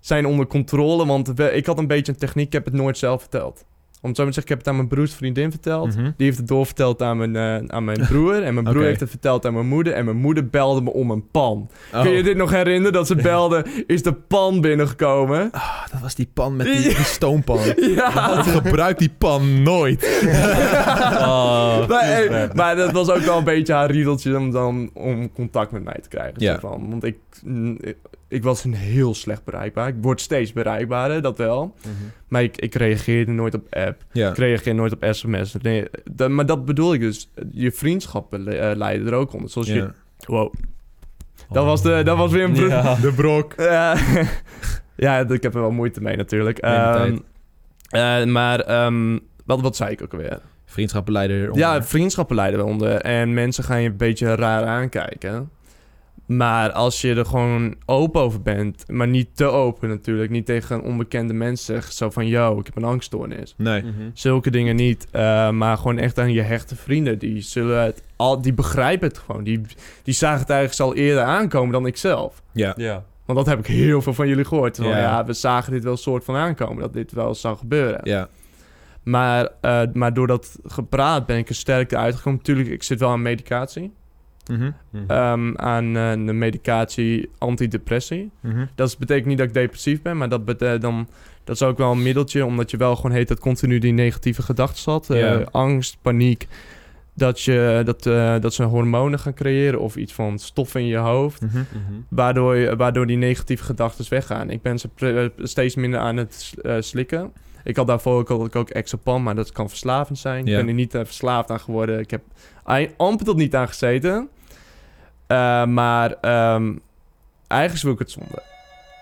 [SPEAKER 2] zijn onder controle, want we- ik had een beetje een techniek, ik heb het nooit zelf verteld. Om het zo maar te zeggen, ik heb het aan mijn broers vriendin verteld.
[SPEAKER 1] Mhm.
[SPEAKER 2] Die heeft het doorverteld aan mijn, eh, aan mijn broer. En mijn broer
[SPEAKER 1] Oké.
[SPEAKER 2] heeft het verteld aan mijn moeder. En mijn moeder belde me om een pan.
[SPEAKER 1] Oh.
[SPEAKER 2] Kun je dit nog herinneren? Dat ze belde, is de pan binnengekomen?
[SPEAKER 1] Ah, dat was die pan met die, die
[SPEAKER 2] [LAUGHS]
[SPEAKER 1] stoompan. [LAUGHS]
[SPEAKER 2] Ja.
[SPEAKER 1] Gebruik die pan nooit.
[SPEAKER 3] Oh,
[SPEAKER 2] Maar, hey,
[SPEAKER 3] Kiesbrecht.
[SPEAKER 2] maar dat was ook wel een beetje haar riedeltje om, dan, om contact met mij te krijgen.
[SPEAKER 1] Ja.
[SPEAKER 2] zo Van. Want ik, mm, ik- ik was een heel slecht bereikbaar. Ik word steeds bereikbaarder, dat wel. Maar ik, ik reageerde nooit op app.
[SPEAKER 1] Ja.
[SPEAKER 2] Ik reageerde nooit op sms. Nee, dat- maar dat bedoel ik dus. Je vriendschappen le- eh, leiden er ook onder. Zoals je...
[SPEAKER 1] ja. Oh.
[SPEAKER 2] Wow. Dat was, de, dat was weer een... pro- [LAUGHS]
[SPEAKER 3] Ja.
[SPEAKER 1] De brok.
[SPEAKER 2] eh, [LAUGHS] ja, ik heb er wel moeite mee natuurlijk.
[SPEAKER 1] Neem je
[SPEAKER 2] Ehm,
[SPEAKER 1] tijd.
[SPEAKER 2] eh, maar ehm, wat, wat zei ik ook alweer?
[SPEAKER 1] Vriendschappenleider. eronder.
[SPEAKER 2] Ja, vriendschappen leiden eronder. En mensen gaan je een beetje raar aankijken. Maar als je er gewoon open over bent, maar niet te open natuurlijk, niet tegen een onbekende mens zegt zo van, yo, ik heb een angststoornis.
[SPEAKER 1] Nee.
[SPEAKER 3] Mhm.
[SPEAKER 2] Zulke dingen niet, eh, maar gewoon echt aan je hechte vrienden. Die, zullen het al, die begrijpen het gewoon. Die, die zagen het eigenlijk al eerder aankomen dan ik zelf.
[SPEAKER 1] Ja.
[SPEAKER 3] Ja.
[SPEAKER 2] Want dat heb ik heel veel van jullie gehoord. Van,
[SPEAKER 1] Ja.
[SPEAKER 2] ja, we zagen dit wel soort van aankomen, dat dit wel zou gebeuren.
[SPEAKER 1] Ja.
[SPEAKER 2] Maar, eh, maar door dat gepraat ben ik er sterker uitgekomen. Tuurlijk, ik zit wel aan medicatie.
[SPEAKER 1] Mhm.
[SPEAKER 2] Ehm, aan eh, de medicatie antidepressie.
[SPEAKER 1] Mhm.
[SPEAKER 2] Dat is- betekent niet dat ik depressief ben, maar dat, bete- dan, dat is ook wel een middeltje. Omdat je wel gewoon heet dat continu die negatieve gedachten zat. eh,
[SPEAKER 1] Ja.
[SPEAKER 2] angst, paniek. Dat, je, dat, eh, dat ze hormonen gaan creëren of iets van stof in je hoofd.
[SPEAKER 1] Mhm.
[SPEAKER 3] Mhm.
[SPEAKER 2] Waardoor, je- waardoor die negatieve gedachten weggaan. Ik ben ze pre- eh, steeds minder aan het s- eh, slikken. Ik had daarvoor ook, had ik ook Exapan, maar dat kan verslavend zijn.
[SPEAKER 1] Ja.
[SPEAKER 2] Ik ben er niet eh, verslaafd aan geworden. Ik heb ei- amper tot niet aan gezeten. Eh, maar ehm eigenlijk wil ik het zonde.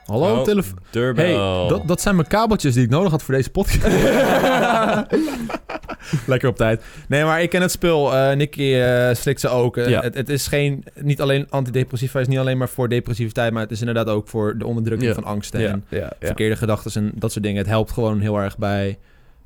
[SPEAKER 1] Hallo,
[SPEAKER 3] Oh,
[SPEAKER 1] telefoon.
[SPEAKER 3] Deurbel.
[SPEAKER 1] Hey, dat, dat zijn mijn kabeltjes die ik nodig had voor deze podcast. Lekker op tijd. Nee, maar ik ken het spul. Eh Nicky eh, slikt ze ook. Eh,
[SPEAKER 2] Ja.
[SPEAKER 1] het, het is geen, niet alleen antidepressiva, het is niet alleen maar voor depressiviteit, maar het is inderdaad ook voor de onderdrukking
[SPEAKER 2] Ja.
[SPEAKER 1] van angsten
[SPEAKER 2] Ja,
[SPEAKER 1] en
[SPEAKER 2] ja, ja.
[SPEAKER 1] verkeerde gedachten en dat soort dingen. Het helpt gewoon heel erg bij,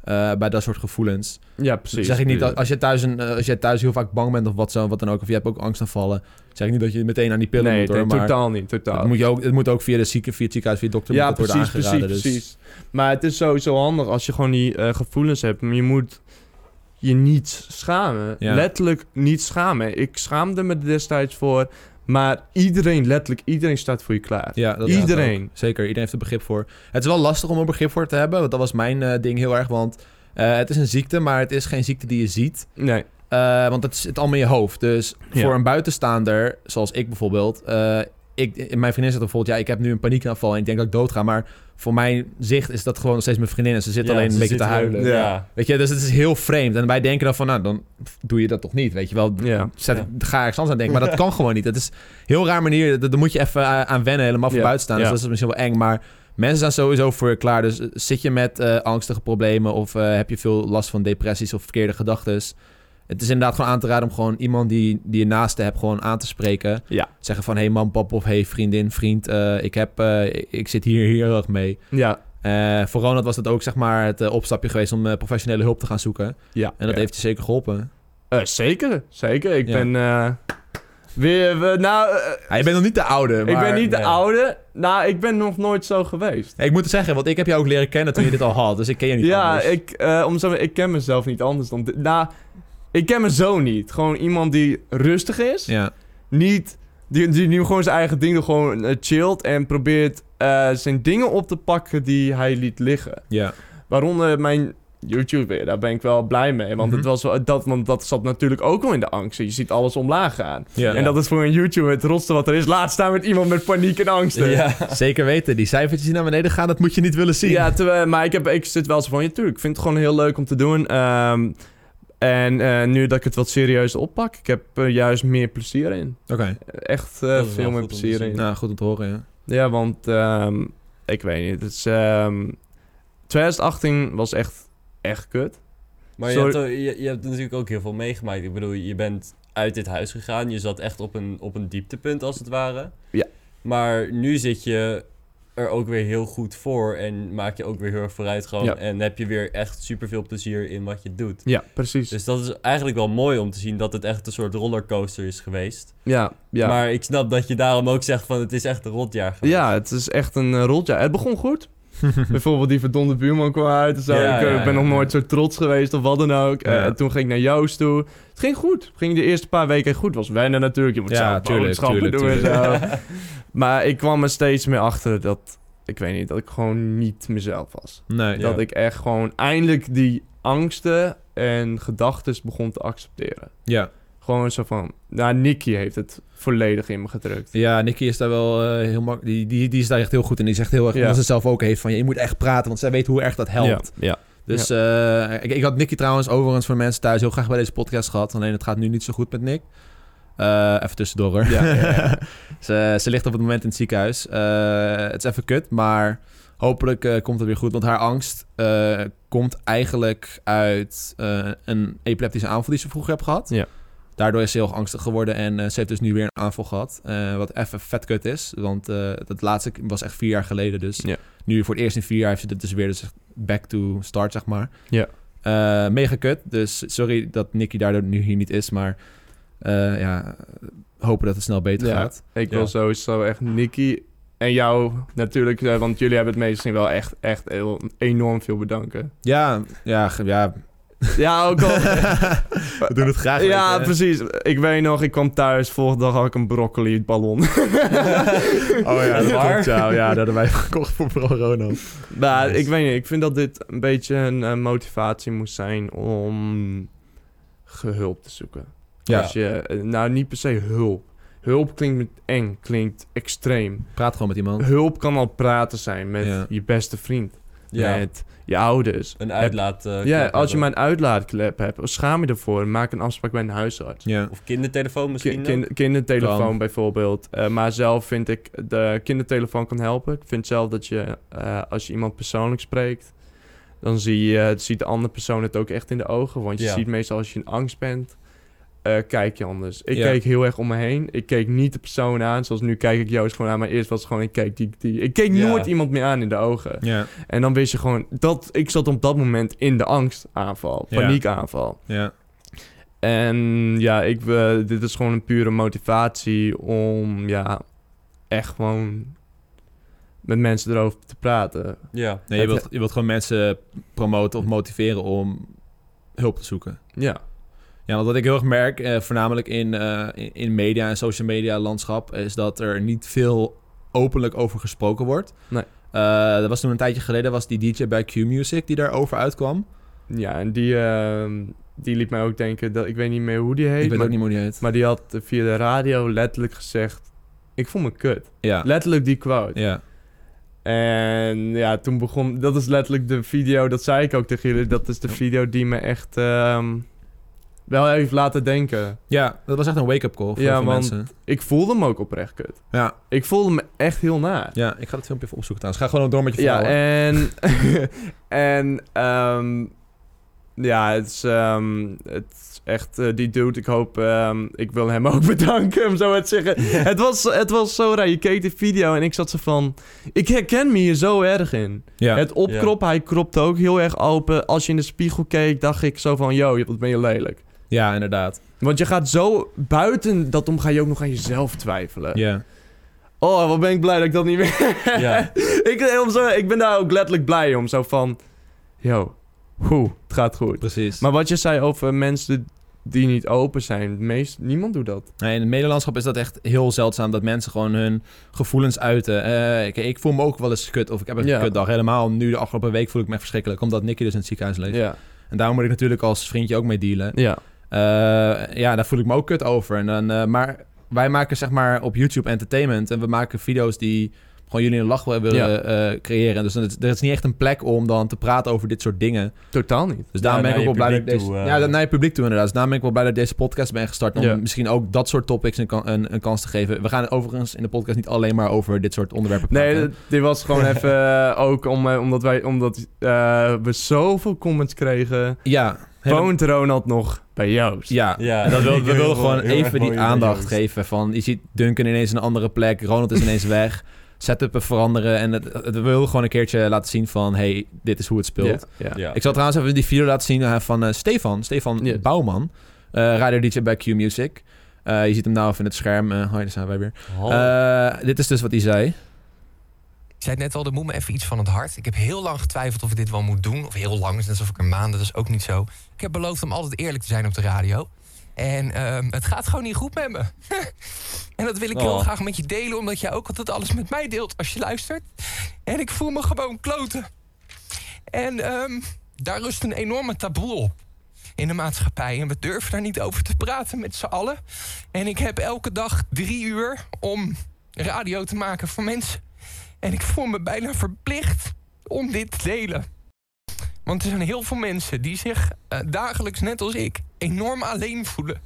[SPEAKER 1] eh, bij dat soort gevoelens.
[SPEAKER 2] ja, precies.
[SPEAKER 1] zeg ik niet, dat- als je thuis, een, eh, als je thuis heel vaak bang bent of wat, zo, wat dan ook, of je hebt ook angst aanvallen, zeg ik niet dat je meteen aan die pillen
[SPEAKER 2] nee,
[SPEAKER 1] moet hoor,
[SPEAKER 2] nee,
[SPEAKER 1] maar
[SPEAKER 2] totaal niet.
[SPEAKER 1] het
[SPEAKER 2] Totaal.
[SPEAKER 1] moet, je ook, het moet ook via, de zieke, via het ziekenhuis, via de dokter
[SPEAKER 2] ja,
[SPEAKER 1] moet het
[SPEAKER 2] precies,
[SPEAKER 1] worden aangeraden.
[SPEAKER 2] precies,
[SPEAKER 1] dus-
[SPEAKER 2] precies. Maar het is sowieso handig als je gewoon die eh, gevoelens hebt. Maar je moet je niet schamen.
[SPEAKER 1] Ja.
[SPEAKER 2] Letterlijk niet schamen. Ik schaamde me er destijds voor. Maar iedereen, letterlijk iedereen staat voor je klaar.
[SPEAKER 1] Ja, dat
[SPEAKER 2] Iedereen.
[SPEAKER 1] ook. Zeker, iedereen heeft er begrip voor. Het is wel lastig om er begrip voor te hebben, want dat was mijn eh, ding heel erg. Want eh, het is een ziekte, maar het is geen ziekte die je ziet.
[SPEAKER 2] Nee.
[SPEAKER 1] Eh, want het zit allemaal in je hoofd. Dus
[SPEAKER 2] Ja.
[SPEAKER 1] voor een buitenstaander, zoals ik bijvoorbeeld... eh, ik, mijn vriendin zegt bijvoorbeeld, ja, ik heb nu een paniekaanval en ik denk dat ik dood ga. Maar voor mijn zicht is dat gewoon nog steeds mijn vriendin en ze zit
[SPEAKER 3] Ja,
[SPEAKER 1] alleen
[SPEAKER 3] ze
[SPEAKER 1] een beetje te
[SPEAKER 3] zitten
[SPEAKER 1] huilen.
[SPEAKER 3] wel-
[SPEAKER 2] Ja.
[SPEAKER 3] Ja.
[SPEAKER 1] Weet je, dus het is heel vreemd. En wij denken dan van, nou, dan pff, doe je dat toch niet, weet je wel.
[SPEAKER 2] Ja.
[SPEAKER 1] Zet,
[SPEAKER 3] Ja.
[SPEAKER 1] Ga ergens anders aan denken. Maar dat kan gewoon niet. Dat is een heel raar manier. Daar daar moet je even eh, aan wennen. Helemaal voor
[SPEAKER 2] Ja.
[SPEAKER 1] buiten staan. Dus
[SPEAKER 2] Ja.
[SPEAKER 1] dat is misschien wel eng. Maar mensen zijn sowieso voor je klaar. Dus eh, zit je met eh, angstige problemen... of eh, heb je veel last van depressies of verkeerde gedachten... Het is inderdaad gewoon aan te raden om gewoon iemand die, die je naast je hebt gewoon aan te spreken.
[SPEAKER 2] Ja.
[SPEAKER 1] Zeggen van, hey man, pap of hey vriendin, vriend, eh, ik, heb, eh, ik- ik zit hier heel erg mee.
[SPEAKER 2] Ja.
[SPEAKER 1] Eh, voor Ronald was dat ook zeg maar het eh, opstapje geweest om eh, professionele hulp te gaan zoeken.
[SPEAKER 2] ja.
[SPEAKER 1] En dat
[SPEAKER 2] Ja.
[SPEAKER 1] heeft je zeker geholpen.
[SPEAKER 2] Eh, zeker. Zeker. Ik
[SPEAKER 1] Ja.
[SPEAKER 2] ben... eh, weer... we- nou... eh,
[SPEAKER 1] Ah, je bent nog niet de oude,
[SPEAKER 2] ik
[SPEAKER 1] maar-
[SPEAKER 2] ben niet
[SPEAKER 1] Nee.
[SPEAKER 2] de oude. Nou, ik ben nog nooit zo geweest.
[SPEAKER 1] Ik moet het zeggen, want ik heb jou ook leren kennen toen je dit al had. Dus ik ken je niet
[SPEAKER 2] ja,
[SPEAKER 1] anders.
[SPEAKER 2] ik, eh, om zo, ik ken mezelf niet anders dan... dit. Nou, ik ken me zo niet. Gewoon iemand die rustig is.
[SPEAKER 1] Ja,
[SPEAKER 2] Niet Die, die nu gewoon zijn eigen ding doet, gewoon eh, chillt en probeert eh, zijn dingen op te pakken die hij liet liggen.
[SPEAKER 1] Ja.
[SPEAKER 2] Waaronder mijn YouTube weer. Daar ben ik wel blij mee. Want, het
[SPEAKER 1] Mhm.
[SPEAKER 2] was wel- dat, want dat zat natuurlijk ook wel in de angst. Je ziet alles omlaag gaan.
[SPEAKER 1] ja.
[SPEAKER 2] En dat is voor een YouTuber het rotste wat er is. Laat staan met iemand met paniek en angsten.
[SPEAKER 3] Ja.
[SPEAKER 1] Zeker weten, die cijfertjes die naar beneden gaan, dat moet je niet willen zien.
[SPEAKER 2] Ja, terwijl- maar ik, heb, ik zit wel zo van, ja, tuurlijk, ik vind het gewoon heel leuk om te doen. Ehm, en eh, nu dat ik het wat serieus oppak, ik heb er juist meer plezier in.
[SPEAKER 1] Oké,
[SPEAKER 2] Echt
[SPEAKER 3] Dat is
[SPEAKER 2] eh,
[SPEAKER 3] wel
[SPEAKER 2] veel
[SPEAKER 3] goed
[SPEAKER 2] meer
[SPEAKER 3] om te
[SPEAKER 2] plezier
[SPEAKER 3] zien.
[SPEAKER 2] in.
[SPEAKER 1] nou goed om te horen, ja.
[SPEAKER 2] Ja, want ehm, ik weet niet, het is, ehm, 2018 was echt, echt kut.
[SPEAKER 3] Maar je
[SPEAKER 2] Sorry.
[SPEAKER 3] hebt, ook- je, je hebt natuurlijk ook heel veel meegemaakt. Ik bedoel, je bent uit dit huis gegaan. Je zat echt op een, op een dieptepunt, als het ware.
[SPEAKER 2] Ja.
[SPEAKER 3] Maar nu zit je er ook weer heel goed voor en maak je ook weer heel erg vooruitgang.
[SPEAKER 2] Ja.
[SPEAKER 3] En heb je weer echt superveel plezier in wat je doet.
[SPEAKER 2] Ja, precies.
[SPEAKER 3] Dus dat is eigenlijk wel mooi om te zien dat het echt een soort rollercoaster is geweest.
[SPEAKER 2] ja, ja.
[SPEAKER 3] Maar ik snap dat je daarom ook zegt van het is echt een rotjaar geweest.
[SPEAKER 2] ja, het is echt een eh, rotjaar. Het begon goed. Bijvoorbeeld die verdomde buurman kwam uit en zo.
[SPEAKER 3] Ja,
[SPEAKER 2] ik eh,
[SPEAKER 3] ja,
[SPEAKER 2] ben
[SPEAKER 3] ja,
[SPEAKER 2] nog
[SPEAKER 3] ja.
[SPEAKER 2] nooit zo trots geweest of wat dan ook. Eh,
[SPEAKER 1] Ja.
[SPEAKER 2] en toen ging ik naar Joost toe. Het ging goed. Het ging de eerste paar weken goed. Het was wennen natuurlijk. Je moet
[SPEAKER 1] Ja,
[SPEAKER 2] zelf
[SPEAKER 1] tuurlijk,
[SPEAKER 2] boodschappen
[SPEAKER 1] tuurlijk,
[SPEAKER 2] doen en
[SPEAKER 3] tuurlijk.
[SPEAKER 2] zo. maar ik kwam er steeds meer achter dat... Ik weet niet, dat ik gewoon niet mezelf was.
[SPEAKER 1] Nee,
[SPEAKER 3] Ja.
[SPEAKER 2] Dat ik echt gewoon eindelijk die angsten en gedachten begon te accepteren.
[SPEAKER 1] ja.
[SPEAKER 2] Gewoon zo van... Nou, Nicky heeft het volledig in me gedrukt.
[SPEAKER 1] Ja, Nicky is daar wel eh, heel mak die, die, die is daar echt heel goed in. Die is echt heel erg,
[SPEAKER 2] Ja.
[SPEAKER 1] omdat ze het zelf ook heeft, van ja, je moet echt praten, want zij weet hoe erg dat helpt.
[SPEAKER 2] Ja, ja.
[SPEAKER 1] Dus eh, ik, ik had Nicky trouwens overigens voor de mensen thuis heel graag bij deze podcast gehad. Alleen het gaat nu niet zo goed met Nick. Eh, even tussendoor hoor.
[SPEAKER 2] Ja, ja,
[SPEAKER 1] [LAUGHS]
[SPEAKER 2] ja.
[SPEAKER 1] ze, ze ligt op het moment in het ziekenhuis. Eh, het is even kut, maar hopelijk eh, komt het weer goed. Want haar angst eh, komt eigenlijk uit eh, een epileptische aanval die ze vroeger heeft gehad.
[SPEAKER 2] Ja.
[SPEAKER 1] Daardoor is ze heel erg angstig geworden en eh, ze heeft dus nu weer een aanval gehad. eh, wat even vet kut is, want eh dat laatste was echt vier jaar geleden. Dus
[SPEAKER 2] Ja.
[SPEAKER 1] nu voor het eerst in vier jaar heeft ze dit dus weer dus echt back to start, zeg maar.
[SPEAKER 2] Ja.
[SPEAKER 1] Eh, mega kut, dus sorry dat Nicky daardoor nu hier niet is, maar eh, ja, hopen dat het snel beter
[SPEAKER 2] Ja.
[SPEAKER 1] gaat.
[SPEAKER 2] Ik
[SPEAKER 3] Ja.
[SPEAKER 2] wil sowieso echt Nicky en jou natuurlijk, eh, want jullie hebben het meestal wel echt, echt heel, enorm veel bedanken.
[SPEAKER 1] Ja, ja, ge- ja.
[SPEAKER 2] [LAUGHS] Ja,
[SPEAKER 1] [LAUGHS]
[SPEAKER 2] ook al.
[SPEAKER 1] We doen het graag.
[SPEAKER 2] ja,
[SPEAKER 1] weet je.
[SPEAKER 2] precies. Ik weet nog, ik kwam thuis, volgende dag had ik een
[SPEAKER 1] [LAUGHS]
[SPEAKER 2] broccoli ballon.
[SPEAKER 1] Oh ja, dat
[SPEAKER 3] Waar?
[SPEAKER 1] klopt, ja. Ja, dat hadden wij gekocht voor Pro Ronald.
[SPEAKER 2] [LAUGHS] Maar
[SPEAKER 1] Nice.
[SPEAKER 2] ik weet niet, ik vind dat dit een beetje een eh, motivatie moest zijn om gehulp te zoeken.
[SPEAKER 1] Ja.
[SPEAKER 2] Als je, eh, nou niet per se hulp. Hulp klinkt met eng, klinkt extreem.
[SPEAKER 1] Praat gewoon met iemand.
[SPEAKER 2] Hulp kan al praten zijn met
[SPEAKER 1] Ja.
[SPEAKER 2] je beste vriend,
[SPEAKER 3] Ja,
[SPEAKER 2] met je ouders.
[SPEAKER 3] Een uitlaat. eh,
[SPEAKER 2] Ja,
[SPEAKER 3] knop
[SPEAKER 2] als je
[SPEAKER 3] hebben.
[SPEAKER 2] maar een uitlaatklep hebt, schaam je ervoor. Maak een afspraak bij een huisarts.
[SPEAKER 1] Ja.
[SPEAKER 3] Of kindertelefoon misschien.
[SPEAKER 2] Ki-
[SPEAKER 3] dan?
[SPEAKER 2] kin- kindertelefoon
[SPEAKER 1] Kan.
[SPEAKER 2] bijvoorbeeld. Eh, maar zelf vind ik de kindertelefoon kan helpen. Ik vind zelf dat je, eh, als je iemand persoonlijk spreekt, dan zie je, het ziet de andere persoon het ook echt in de ogen. Want je
[SPEAKER 3] Ja.
[SPEAKER 2] ziet meestal als je in angst bent, eh, kijk je anders. Ik
[SPEAKER 1] Ja.
[SPEAKER 2] keek heel erg om me heen. Ik keek niet de persoon aan, zoals nu kijk ik Joost gewoon aan. Maar eerst was het gewoon, ik keek die, die. Ik keek
[SPEAKER 3] Ja.
[SPEAKER 2] nooit iemand meer aan in de ogen.
[SPEAKER 1] Ja,
[SPEAKER 2] En dan wist je gewoon dat ik zat op dat moment in de angstaanval,
[SPEAKER 1] Ja.
[SPEAKER 2] paniekaanval.
[SPEAKER 1] ja.
[SPEAKER 2] En ja, ik, eh, dit is gewoon een pure motivatie om ja, echt gewoon met mensen erover te praten.
[SPEAKER 1] [LAUGHS]
[SPEAKER 3] Ja.
[SPEAKER 1] Nee, je,
[SPEAKER 2] Het-
[SPEAKER 1] wilt, je wilt gewoon mensen promoten of motiveren om hulp te zoeken.
[SPEAKER 2] Ja,
[SPEAKER 1] Ja, want wat ik heel erg merk, eh, voornamelijk in, eh, in- in media en social media landschap, is dat er niet veel openlijk over gesproken wordt.
[SPEAKER 2] Nee.
[SPEAKER 1] Eh, er was toen een tijdje geleden was die DJ bij Q Music die daarover uitkwam.
[SPEAKER 2] ja en die, ehm, die liet mij ook denken, dat, ik weet niet meer hoe die heet,
[SPEAKER 1] ik weet
[SPEAKER 2] maar,
[SPEAKER 1] ook niet meer hoe die heet.
[SPEAKER 2] maar die had via de radio letterlijk gezegd, ik voel me kut.
[SPEAKER 1] Ja,
[SPEAKER 2] Letterlijk die quote.
[SPEAKER 1] ja,
[SPEAKER 2] En ja, toen begon... Dat is letterlijk de video, dat zei ik ook tegen jullie... Dat is de video die me echt ehm, wel heeft laten denken.
[SPEAKER 1] ja, dat was echt een wake-up call voor
[SPEAKER 2] Ja,
[SPEAKER 1] heel veel
[SPEAKER 2] want-
[SPEAKER 1] mensen.
[SPEAKER 2] Ik voelde hem ook oprecht kut.
[SPEAKER 1] Ja,
[SPEAKER 2] Ik voelde me echt heel naar.
[SPEAKER 1] Ja, ik ga dat filmpje even opzoeken trouwens. Ga gewoon door met je
[SPEAKER 2] Ja,
[SPEAKER 1] verhaal. hoor. [LAUGHS]
[SPEAKER 2] en... en... ehm, ja, het is, ehm, het is echt... eh, die dude, ik hoop... ehm, ik wil hem ook [LAUGHS] bedanken, om zo maar te zeggen. Het, was, het was zo raar. Je keek de video en ik zat zo van... Ik herken me hier zo erg in.
[SPEAKER 1] ja.
[SPEAKER 2] Het opkroppen, hij kropte ook heel erg open. Als je in de spiegel keek, dacht ik zo van... Yo, wat ben je lelijk.
[SPEAKER 1] ja, inderdaad.
[SPEAKER 2] Want je gaat zo buiten dat om, ga je ook nog aan jezelf twijfelen.
[SPEAKER 1] Ja.
[SPEAKER 2] Oh, wat ben ik blij dat ik dat niet meer... [LAUGHS]
[SPEAKER 3] Ja.
[SPEAKER 2] ik, eh, om zo, ik ben daar ook letterlijk blij om. Zo van... Yo, hoe, het gaat goed.
[SPEAKER 1] Precies.
[SPEAKER 2] Maar wat je zei over mensen die niet open zijn. Meest, niemand doet dat.
[SPEAKER 1] Nee, in het medelandschap is dat echt heel zeldzaam dat mensen gewoon hun gevoelens uiten. Eh, ik, ik voel me ook wel eens kut of ik heb een
[SPEAKER 2] Ja.
[SPEAKER 1] kutdag. Helemaal nu de afgelopen week voel ik me echt verschrikkelijk, omdat Nicky dus in het ziekenhuis leeft.
[SPEAKER 2] Ja,
[SPEAKER 1] En daar moet ik natuurlijk als vriendje ook mee dealen.
[SPEAKER 2] ja.
[SPEAKER 1] Eh, ja, daar voel ik me ook kut over. En dan, eh, maar wij maken zeg maar op YouTube entertainment en we maken video's die gewoon jullie een lach willen
[SPEAKER 2] Ja.
[SPEAKER 1] eh, creëren. Dus dan is- er is niet echt een plek om dan te praten over dit soort dingen.
[SPEAKER 2] totaal niet.
[SPEAKER 1] Dus daarom
[SPEAKER 3] Ja,
[SPEAKER 1] ben ik ook
[SPEAKER 3] naar
[SPEAKER 1] wel blij dat
[SPEAKER 3] je
[SPEAKER 1] ik
[SPEAKER 3] publiek
[SPEAKER 1] deze...
[SPEAKER 3] toe,
[SPEAKER 1] Ja,
[SPEAKER 3] eh.
[SPEAKER 1] dat- naar je publiek toe inderdaad. Dus daarom ben ik wel blij dat ik deze podcast ben gestart. Om
[SPEAKER 2] Ja.
[SPEAKER 1] misschien ook dat soort topics een, kan- een, een kans te geven. We gaan overigens in de podcast niet alleen maar over dit soort onderwerpen praten.
[SPEAKER 2] Nee, dit- dit
[SPEAKER 1] [LAUGHS]
[SPEAKER 2] was gewoon even eh, ook om, eh, omdat, wij, omdat eh, we zoveel comments kregen.
[SPEAKER 1] ja, hele-
[SPEAKER 2] Woont Ronald nog bij Joost?
[SPEAKER 1] ja.
[SPEAKER 3] Ja,
[SPEAKER 1] En dat
[SPEAKER 3] [LAUGHS]
[SPEAKER 1] wil,
[SPEAKER 3] ik
[SPEAKER 1] we willen gewoon
[SPEAKER 3] heel erg
[SPEAKER 1] even die
[SPEAKER 3] mooi
[SPEAKER 1] aandacht
[SPEAKER 3] idee.
[SPEAKER 1] geven van... Je ziet Duncan ineens in een andere plek. Ronald is ineens weg. Setupen veranderen. En het, het, we willen gewoon een keertje laten zien van... hey, dit is hoe het speelt.
[SPEAKER 2] Ja, ja.
[SPEAKER 3] Ja.
[SPEAKER 1] Ik zal trouwens even die video laten zien eh, van eh, Stefan. Stefan
[SPEAKER 2] Ja.
[SPEAKER 1] Bouwman. eh radio DJ bij Q Music. Eh, je ziet hem nou even in het scherm. eh hoi, daar zijn wij weer.
[SPEAKER 3] Hal-
[SPEAKER 1] Eh, dit is dus wat hij zei.
[SPEAKER 4] Ik zei het net al, er moet me even iets van het hart. Ik heb heel lang getwijfeld of ik dit wel moet doen. Of heel lang, is net alsof ik er maanden, dat is ook niet zo. Ik heb beloofd om altijd eerlijk te zijn op de radio. En ehm, het gaat gewoon niet goed met me. [LAUGHS] en dat wil ik heel
[SPEAKER 3] Oh.
[SPEAKER 4] graag met je delen, omdat jij ook altijd alles met mij deelt als je luistert. En ik voel me gewoon kloten. En ehm, daar rust een enorme taboe op in de maatschappij. En we durven daar niet over te praten met z'n allen. En ik heb elke dag drie uur om radio te maken voor mensen. En ik voel me bijna verplicht om dit te delen. Want er zijn heel veel mensen die zich eh, dagelijks, net als ik, enorm alleen voelen.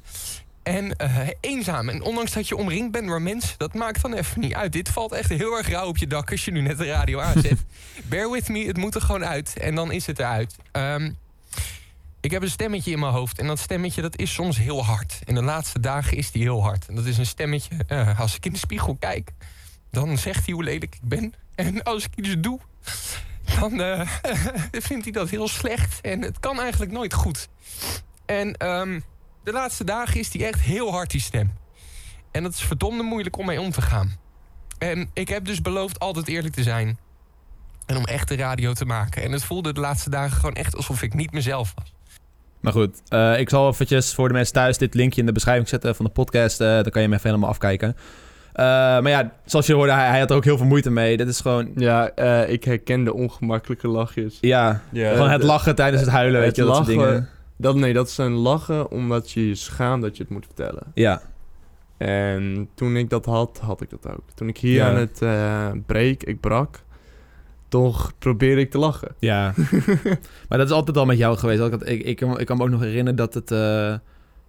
[SPEAKER 4] En eh, eenzaam. En ondanks dat je omringd bent door mensen, dat maakt dan even niet uit. Dit valt echt heel erg rauw op je dak als je nu net de radio aanzet. Bear with me, het moet er gewoon uit. En dan is het eruit. Ehm, ik heb een stemmetje in mijn hoofd. En dat stemmetje dat is soms heel hard. En de laatste dagen is die heel hard. En dat is een stemmetje, eh, als ik in de spiegel kijk, dan zegt hij hoe lelijk ik ben. En als ik iets doe, dan eh, [LAUGHS] vindt hij dat heel slecht. En het kan eigenlijk nooit goed. En ehm, de laatste dagen is die echt heel hard, die stem. En dat is verdomde moeilijk om mee om te gaan. En ik heb dus beloofd altijd eerlijk te zijn. En om echt de radio te maken. En het voelde de laatste dagen gewoon echt alsof ik niet mezelf was.
[SPEAKER 1] Maar goed, eh, ik zal eventjes voor de mensen thuis dit linkje in de beschrijving zetten van de podcast. eh, dan kan je hem even helemaal afkijken. Eh, maar ja, zoals je hoorde, hij, hij had er ook heel veel moeite mee. Dit is gewoon,
[SPEAKER 2] eh, ik herken de ongemakkelijke lachjes.
[SPEAKER 1] ja,
[SPEAKER 3] ja.
[SPEAKER 1] gewoon het
[SPEAKER 2] Eh, de-
[SPEAKER 1] lachen tijdens het huilen, weet
[SPEAKER 2] het
[SPEAKER 1] je, dat soort
[SPEAKER 2] lachen.
[SPEAKER 1] dingen.
[SPEAKER 2] Dat, nee, dat zijn lachen omdat je je schaamt dat je het moet vertellen.
[SPEAKER 1] Ja,
[SPEAKER 2] En toen ik dat had, had ik dat ook. Toen ik hier
[SPEAKER 1] Ja.
[SPEAKER 2] aan het eh breek, ik brak, toch probeerde ik te lachen.
[SPEAKER 1] ja. [LAUGHS] maar dat is altijd al met jou geweest. Ik, had- ik, ik, kan- ik kan me ook nog herinneren dat het, eh,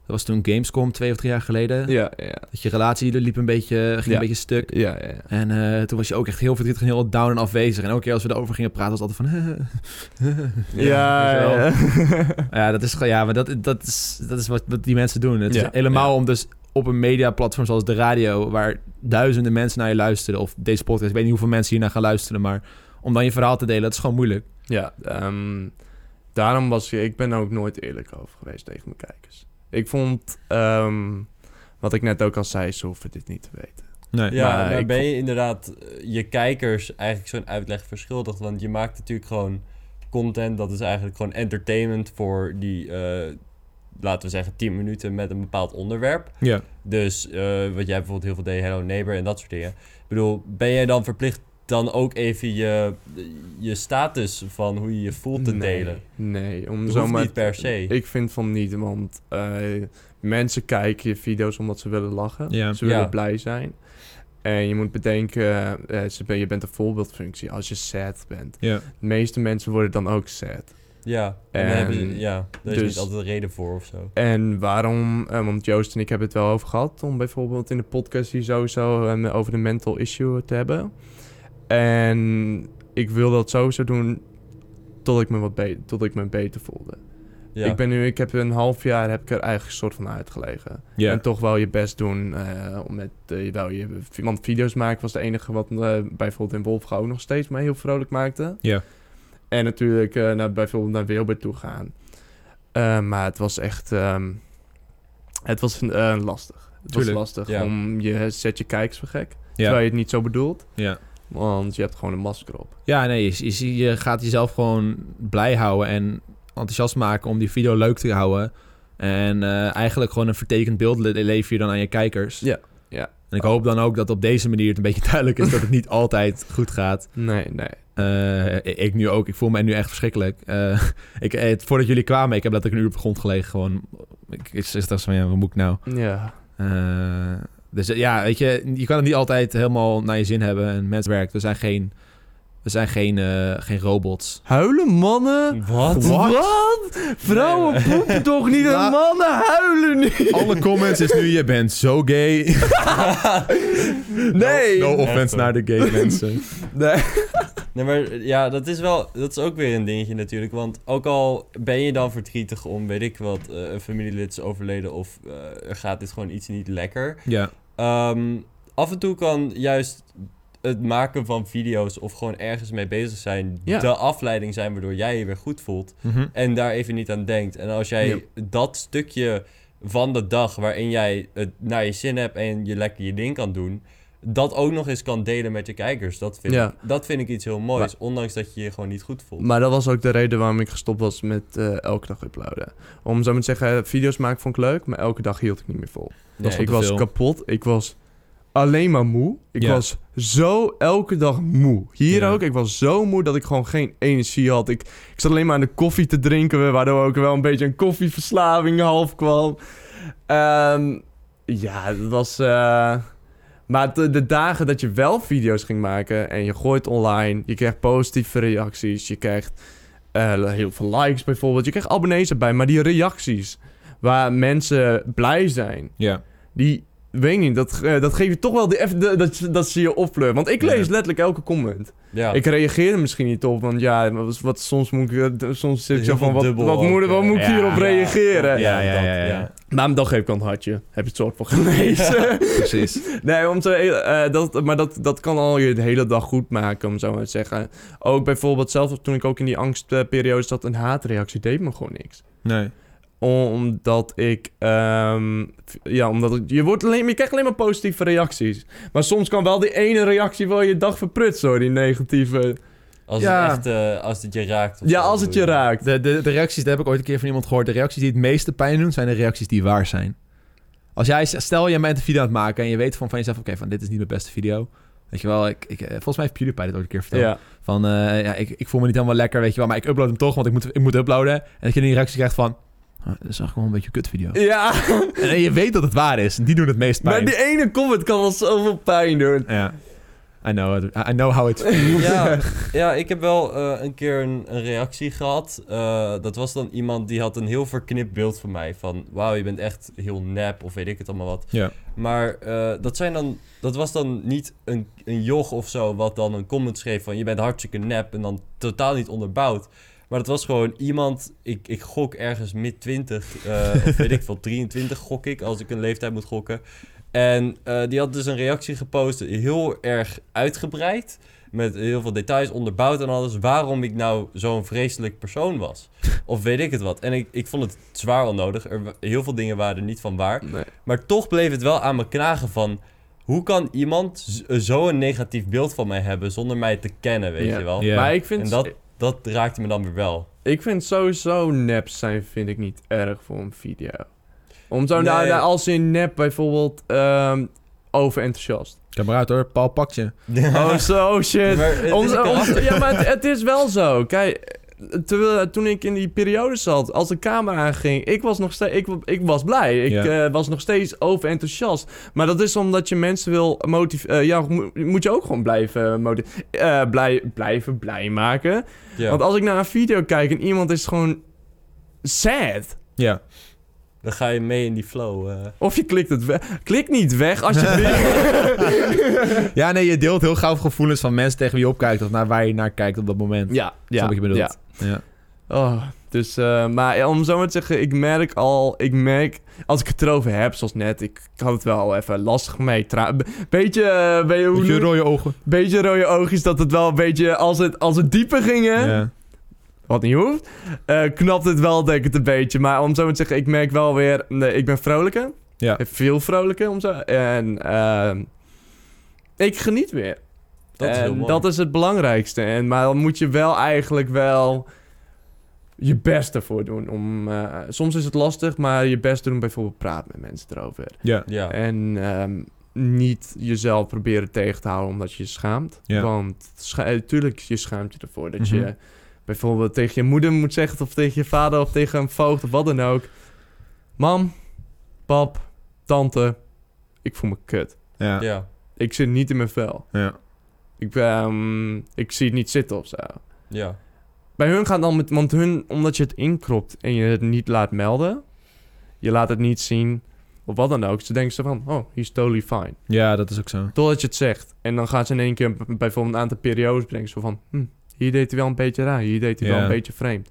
[SPEAKER 1] dat was toen Gamescom twee of drie jaar geleden.
[SPEAKER 2] Ja, ja,
[SPEAKER 1] Dat je relatie liep een beetje, ging
[SPEAKER 2] Ja.
[SPEAKER 1] een beetje stuk.
[SPEAKER 2] ja. ja, ja.
[SPEAKER 1] En eh, toen was je ook echt heel verdrietig en heel down en afwezig. En elke keer als we erover gingen praten, was het altijd van...
[SPEAKER 2] Ja,
[SPEAKER 1] weet je wel.
[SPEAKER 2] ja. [LAUGHS]
[SPEAKER 1] Ja, dat is, ge- ja maar dat, dat is, dat is wat, wat die mensen doen. Het is
[SPEAKER 2] Ja,
[SPEAKER 1] helemaal om dus op een mediaplatform zoals de radio... waar duizenden mensen naar je luisteren... of deze podcast, ik weet niet hoeveel mensen hiernaar gaan luisteren... maar om dan je verhaal te delen, dat is gewoon moeilijk.
[SPEAKER 2] Ja, ehm, daarom was ik, ik ben er ook nooit eerlijk over geweest tegen mijn kijkers. Ik vond, ehm, wat ik net ook al zei, ze hoeven dit niet te weten.
[SPEAKER 1] Nee.
[SPEAKER 3] Ja,
[SPEAKER 2] Maar
[SPEAKER 3] maar
[SPEAKER 2] ik
[SPEAKER 3] ben je inderdaad eh, je kijkers eigenlijk zo'n uitleg verschuldigd? Want je maakt natuurlijk gewoon content, dat is eigenlijk gewoon entertainment voor die, eh, laten we zeggen, 10 minuten met een bepaald onderwerp.
[SPEAKER 1] Ja.
[SPEAKER 3] Dus eh, wat jij bijvoorbeeld heel veel deed, Hello Neighbor en dat soort dingen. Ik bedoel, ben jij dan verplicht dan ook even je, je status van hoe je je voelt te
[SPEAKER 2] Nee,
[SPEAKER 3] delen?
[SPEAKER 2] Nee, om
[SPEAKER 3] Dat
[SPEAKER 2] zo
[SPEAKER 3] hoeft
[SPEAKER 2] maar...
[SPEAKER 3] niet per se.
[SPEAKER 2] Ik vind van niet, want eh, mensen kijken je video's omdat ze willen lachen.
[SPEAKER 1] Ja.
[SPEAKER 2] Ze willen
[SPEAKER 3] Ja.
[SPEAKER 2] blij zijn. En je moet bedenken, eh, ze ben- je bent een voorbeeldfunctie als je sad bent.
[SPEAKER 1] Ja.
[SPEAKER 2] De meeste mensen worden dan ook sad.
[SPEAKER 3] Ja, en
[SPEAKER 2] Ehm,
[SPEAKER 3] daar, hebben ze, ja, daar
[SPEAKER 2] dus-
[SPEAKER 3] is niet altijd een reden voor of zo.
[SPEAKER 2] En waarom? eh, want Joost en ik hebben het wel over gehad. Om bijvoorbeeld in de podcast hier sowieso eh, over de mental issue te hebben. En ik wil dat sowieso doen tot ik me, wat be- tot ik me beter voelde.
[SPEAKER 3] Ja.
[SPEAKER 2] Ik ben nu, ik heb een half jaar heb ik er eigenlijk soort van uitgelegen.
[SPEAKER 1] Ja.
[SPEAKER 2] En toch wel je best doen. eh, om met, eh, wel je, want video's maken was de enige wat eh, bijvoorbeeld in Wolfga ook nog steeds mij heel vrolijk maakte.
[SPEAKER 1] Ja.
[SPEAKER 2] En natuurlijk eh, naar, bijvoorbeeld naar Wilbert toe gaan. Eh, maar het was echt ehm, het was eh, lastig. Het
[SPEAKER 1] Tuurlijk,
[SPEAKER 2] was lastig.
[SPEAKER 3] ja.
[SPEAKER 2] Om, je zet je kijkers voor gek. Terwijl
[SPEAKER 1] Ja.
[SPEAKER 2] je het niet zo bedoelt.
[SPEAKER 1] Ja.
[SPEAKER 2] Want je hebt gewoon een masker op.
[SPEAKER 1] ja, nee, je, je, zie- je gaat jezelf gewoon blij houden... en enthousiast maken om die video leuk te houden... En eh, eigenlijk gewoon een vertekend beeld le- lever je dan aan je kijkers.
[SPEAKER 2] Ja, ja.
[SPEAKER 1] En ik hoop dan ook dat op deze manier het een beetje [LAUGHS] duidelijk is dat het niet altijd goed gaat.
[SPEAKER 2] Nee, nee.
[SPEAKER 1] Eh, ik- ik nu ook. Ik voel mij nu echt verschrikkelijk. Eh, [LAUGHS] ik, eh, het- voordat jullie kwamen, ik heb letterlijk een uur op de grond gelegen. Gewoon, ik, ik ik dacht van, ja, wat moet ik nou?
[SPEAKER 2] Ja.
[SPEAKER 1] Eh, dus eh, ja, weet je, je kan het niet altijd helemaal naar je zin hebben. En mens werkt. We zijn geen, we zijn geen, eh, geen robots.
[SPEAKER 2] Huilen mannen?
[SPEAKER 3] [LAUGHS] Wat?
[SPEAKER 1] Wat?
[SPEAKER 2] Vrouwen
[SPEAKER 3] Nee,
[SPEAKER 2] poepen toch niet
[SPEAKER 1] Nou-
[SPEAKER 2] en mannen huilen niet?
[SPEAKER 1] [LAUGHS] Alle comments is nu, je bent zo gay. [LAUGHS]
[SPEAKER 2] Nee.
[SPEAKER 1] No
[SPEAKER 3] Echt,
[SPEAKER 1] offense
[SPEAKER 3] hoor.
[SPEAKER 1] naar de gay mensen.
[SPEAKER 2] Nee.
[SPEAKER 3] Nee, maar ja, dat is wel, dat is ook weer een dingetje natuurlijk. Want ook al ben je dan verdrietig om, weet ik wat, eh, een familielid is overleden of eh, er gaat dit gewoon iets niet lekker.
[SPEAKER 1] Ja,
[SPEAKER 3] Ehm, af en toe kan juist het maken van video's of gewoon ergens mee bezig zijn
[SPEAKER 2] Ja.
[SPEAKER 3] de afleiding zijn waardoor jij je weer goed voelt
[SPEAKER 1] Mhm.
[SPEAKER 3] en daar even niet aan denkt. En als jij
[SPEAKER 2] Ja.
[SPEAKER 3] dat stukje van de dag waarin jij het naar je zin hebt en je lekker je ding kan doen, dat ook nog eens kan delen met je kijkers. Dat vind,
[SPEAKER 2] Ja.
[SPEAKER 3] ik, dat vind ik iets heel moois, ondanks dat je je gewoon niet goed voelt.
[SPEAKER 2] Maar dat was ook de reden waarom ik gestopt was met eh, elke dag uploaden. Om zo maar te zeggen, eh, video's maken vond ik leuk, maar elke dag hield ik niet meer vol.
[SPEAKER 1] dat is
[SPEAKER 3] Nee,
[SPEAKER 1] wel
[SPEAKER 2] ik
[SPEAKER 1] te
[SPEAKER 2] was
[SPEAKER 1] veel.
[SPEAKER 2] kapot. Ik was alleen maar moe. Ik
[SPEAKER 1] Ja.
[SPEAKER 2] was zo elke dag moe. Hier
[SPEAKER 1] Ja.
[SPEAKER 2] ook. Ik was zo moe dat ik gewoon geen energie had. Ik, ik zat alleen maar aan de koffie te drinken, waardoor ook wel een beetje een koffieverslaving half kwam. Ehm, ja, dat was. eh, Maar de, de dagen dat je wel video's ging maken en je gooit online, je krijgt positieve reacties, je krijgt eh, heel veel likes bijvoorbeeld, je krijgt abonnees erbij, maar die reacties waar mensen blij zijn,
[SPEAKER 1] Ja,
[SPEAKER 2] die, weet ik niet, dat, eh, dat geeft je toch wel die, eff- de- dat, dat ze je opfleuren. Want ik lees
[SPEAKER 1] Ja.
[SPEAKER 2] letterlijk elke comment.
[SPEAKER 3] ja.
[SPEAKER 2] Ik reageer er misschien niet op, want ja, wat, wat- soms moet ik, eh, d- soms zit ik zo
[SPEAKER 3] Heel
[SPEAKER 2] van,
[SPEAKER 3] veel
[SPEAKER 2] wat,
[SPEAKER 3] dubbel
[SPEAKER 2] wat,
[SPEAKER 3] ook,
[SPEAKER 2] moet, wat
[SPEAKER 3] eh.
[SPEAKER 2] moet ik
[SPEAKER 1] Ja.
[SPEAKER 2] hierop
[SPEAKER 1] Ja.
[SPEAKER 2] reageren?
[SPEAKER 1] Ja, ja,
[SPEAKER 3] dat,
[SPEAKER 1] ja, ja, ja.
[SPEAKER 2] Maar dan geef ik dan een hartje. Heb je het soort van gelezen? [LAUGHS]
[SPEAKER 1] precies.
[SPEAKER 2] nee, om te, eh, dat, maar dat, dat kan al je de hele dag goed maken, om zo maar te zeggen. Ook bijvoorbeeld, zelfs toen ik ook in die angstperiode zat, een haatreactie deed me gewoon niks
[SPEAKER 1] Nee.
[SPEAKER 2] omdat ik, ehm, ja, omdat ik- je, wordt alleen, je krijgt alleen maar positieve reacties. Maar soms kan wel die ene reactie wel je dag verprutsen hoor, die negatieve.
[SPEAKER 3] Als,
[SPEAKER 1] Ja.
[SPEAKER 3] Het echt, eh, als het je raakt. of
[SPEAKER 2] Ja,
[SPEAKER 3] zo,
[SPEAKER 2] als het je
[SPEAKER 3] bedoel
[SPEAKER 2] raakt.
[SPEAKER 1] De, de, de reacties, dat heb ik ooit een keer van iemand gehoord. De reacties die het meeste pijn doen, zijn de reacties die waar zijn. Als jij, stel jij bent een video aan het maken en je weet van, van jezelf, oké, van dit is niet mijn beste video. Weet je wel, ik, ik, eh, volgens mij heeft PewDiePie dat ooit een keer verteld.
[SPEAKER 2] Ja.
[SPEAKER 1] Van, eh, ja, ik, ik voel me niet helemaal lekker, weet je wel, maar ik upload hem toch, want ik moet, ik moet uploaden. En dat je die reactie krijgt van, "Ah, dat is eigenlijk wel een beetje een
[SPEAKER 2] [LAUGHS]
[SPEAKER 1] kutvideo.
[SPEAKER 2] Ja,
[SPEAKER 1] En, en je weet dat het waar is, en die doen het meest
[SPEAKER 2] maar
[SPEAKER 1] pijn.
[SPEAKER 2] die ene comment kan wel zoveel pijn doen.
[SPEAKER 1] Ja. I know, it. I know how it
[SPEAKER 3] ja, [LAUGHS] ja, ik heb wel eh, een keer een, een reactie gehad. Eh, dat was dan iemand die had een heel verknipt beeld van mij. Van, wauw, je bent echt heel nep of weet ik het allemaal wat.
[SPEAKER 1] Ja.
[SPEAKER 3] Maar eh, dat, zijn dan, dat was dan niet een, een joch of zo wat dan een comment schreef van... je bent hartstikke nep en dan totaal niet onderbouwd. Maar dat was gewoon iemand, ik, ik gok ergens mid 20, eh, of weet ik
[SPEAKER 2] [LAUGHS]
[SPEAKER 3] veel, 23 gok ik, als ik een leeftijd moet gokken. En eh, die had dus een reactie gepost, heel erg uitgebreid met heel veel details onderbouwd en alles, waarom ik nou zo'n vreselijk persoon was.
[SPEAKER 2] [LAUGHS]
[SPEAKER 3] Of weet ik het wat. En ik, ik vond het zwaar onnodig. Er, wa- heel veel dingen waren er niet van waar.
[SPEAKER 2] Nee.
[SPEAKER 3] Maar toch bleef het wel aan me knagen van... Hoe kan iemand z- zo'n negatief beeld van mij hebben zonder mij te kennen, weet
[SPEAKER 2] Ja.
[SPEAKER 3] je wel?
[SPEAKER 1] Ja.
[SPEAKER 2] Maar ik vind,
[SPEAKER 3] En dat, dat raakte me dan weer
[SPEAKER 2] [LAUGHS]
[SPEAKER 3] wel.
[SPEAKER 2] ik vind sowieso nep zijn vind ik niet erg voor een video. Om zo, nou,
[SPEAKER 3] Nee.
[SPEAKER 2] nou, als in nep bijvoorbeeld ehm overenthousiast.
[SPEAKER 1] [LAUGHS] Kom eruit hoor, Paul pakt je.
[SPEAKER 2] Oh, zo oh shit.
[SPEAKER 3] Maar het is
[SPEAKER 2] Ons-
[SPEAKER 3] een
[SPEAKER 2] ons-
[SPEAKER 3] karakter.
[SPEAKER 2] ja, maar het, het is wel zo. Kijk, terwijl, toen ik in die periode zat, als de camera aanging, ik was nog steeds, ik, wa- ik was blij. Ik
[SPEAKER 1] Ja.
[SPEAKER 2] eh, was nog steeds overenthousiast. Maar dat is omdat je mensen wil motiveren. ja, mo- moet je ook gewoon blijven, moti- eh, blij, blijven blij maken.
[SPEAKER 3] Ja,
[SPEAKER 2] Want als ik naar een video kijk en iemand is gewoon sad.
[SPEAKER 1] Ja.
[SPEAKER 3] dan ga je mee in die flow. eh.
[SPEAKER 2] Of je klikt het weg. Klik niet
[SPEAKER 3] [LAUGHS]
[SPEAKER 2] weg als je.
[SPEAKER 1] ja, nee, je deelt heel gauw gevoelens van mensen tegen wie je opkijkt of naar waar je naar kijkt op dat moment.
[SPEAKER 2] ja,
[SPEAKER 1] Snap
[SPEAKER 2] ja.
[SPEAKER 1] wat je bedoelt.
[SPEAKER 2] ja.
[SPEAKER 1] Ja.
[SPEAKER 2] Oh, dus, eh, maar ja, om zo maar te zeggen, ik merk al, ik merk, als ik het erover heb, zoals net, ik had het wel even lastig mee. tra- be- beetje, eh, ben je, hoe
[SPEAKER 1] Met je
[SPEAKER 2] noem-
[SPEAKER 1] rode ogen.
[SPEAKER 2] beetje rode oogjes, dat het wel een beetje, als het, als het dieper ging, hè,
[SPEAKER 1] Ja.
[SPEAKER 2] wat niet hoeft, eh knapt het wel, denk ik, het een beetje. Maar om zo maar te zeggen, ik merk wel weer, nee, ik ben vrolijker.
[SPEAKER 1] Ja.
[SPEAKER 2] Veel vrolijker, om zo, en ehm, ik geniet weer.
[SPEAKER 3] dat is heel
[SPEAKER 2] En
[SPEAKER 3] mooi.
[SPEAKER 2] dat is het belangrijkste. En, maar dan moet je wel eigenlijk wel je best ervoor doen. Om, eh, soms is het lastig, maar je best doen bijvoorbeeld praat met mensen erover.
[SPEAKER 1] Ja.
[SPEAKER 3] Ja.
[SPEAKER 2] En ehm, niet jezelf proberen tegen te houden omdat je je schaamt.
[SPEAKER 1] Ja.
[SPEAKER 2] Want scha eh, tuurlijk, je schaamt je ervoor. Dat
[SPEAKER 1] Mhm.
[SPEAKER 2] je bijvoorbeeld tegen je moeder moet zeggen, of tegen je vader, of tegen een voogd, of wat dan ook. Mam, pap, tante, ik voel me kut.
[SPEAKER 1] Ja.
[SPEAKER 3] Ja.
[SPEAKER 2] Ik zit niet in mijn vel.
[SPEAKER 1] Ja.
[SPEAKER 2] Ik, ehm, ik zie het niet zitten of zo.
[SPEAKER 3] Ja.
[SPEAKER 2] Bij hun gaat dan met, want hun, omdat je het inkropt en je het niet laat melden, je laat het niet zien of wat dan ook, ze denken ze van, oh, he's totally fine.
[SPEAKER 1] Ja, dat is ook zo.
[SPEAKER 2] Totdat je het zegt. En dan gaan ze in één keer b- bijvoorbeeld een aantal periodes brengen, zo van, hm, hier deed hij wel een beetje raar, hier deed hij
[SPEAKER 1] Ja.
[SPEAKER 2] wel een beetje vreemd.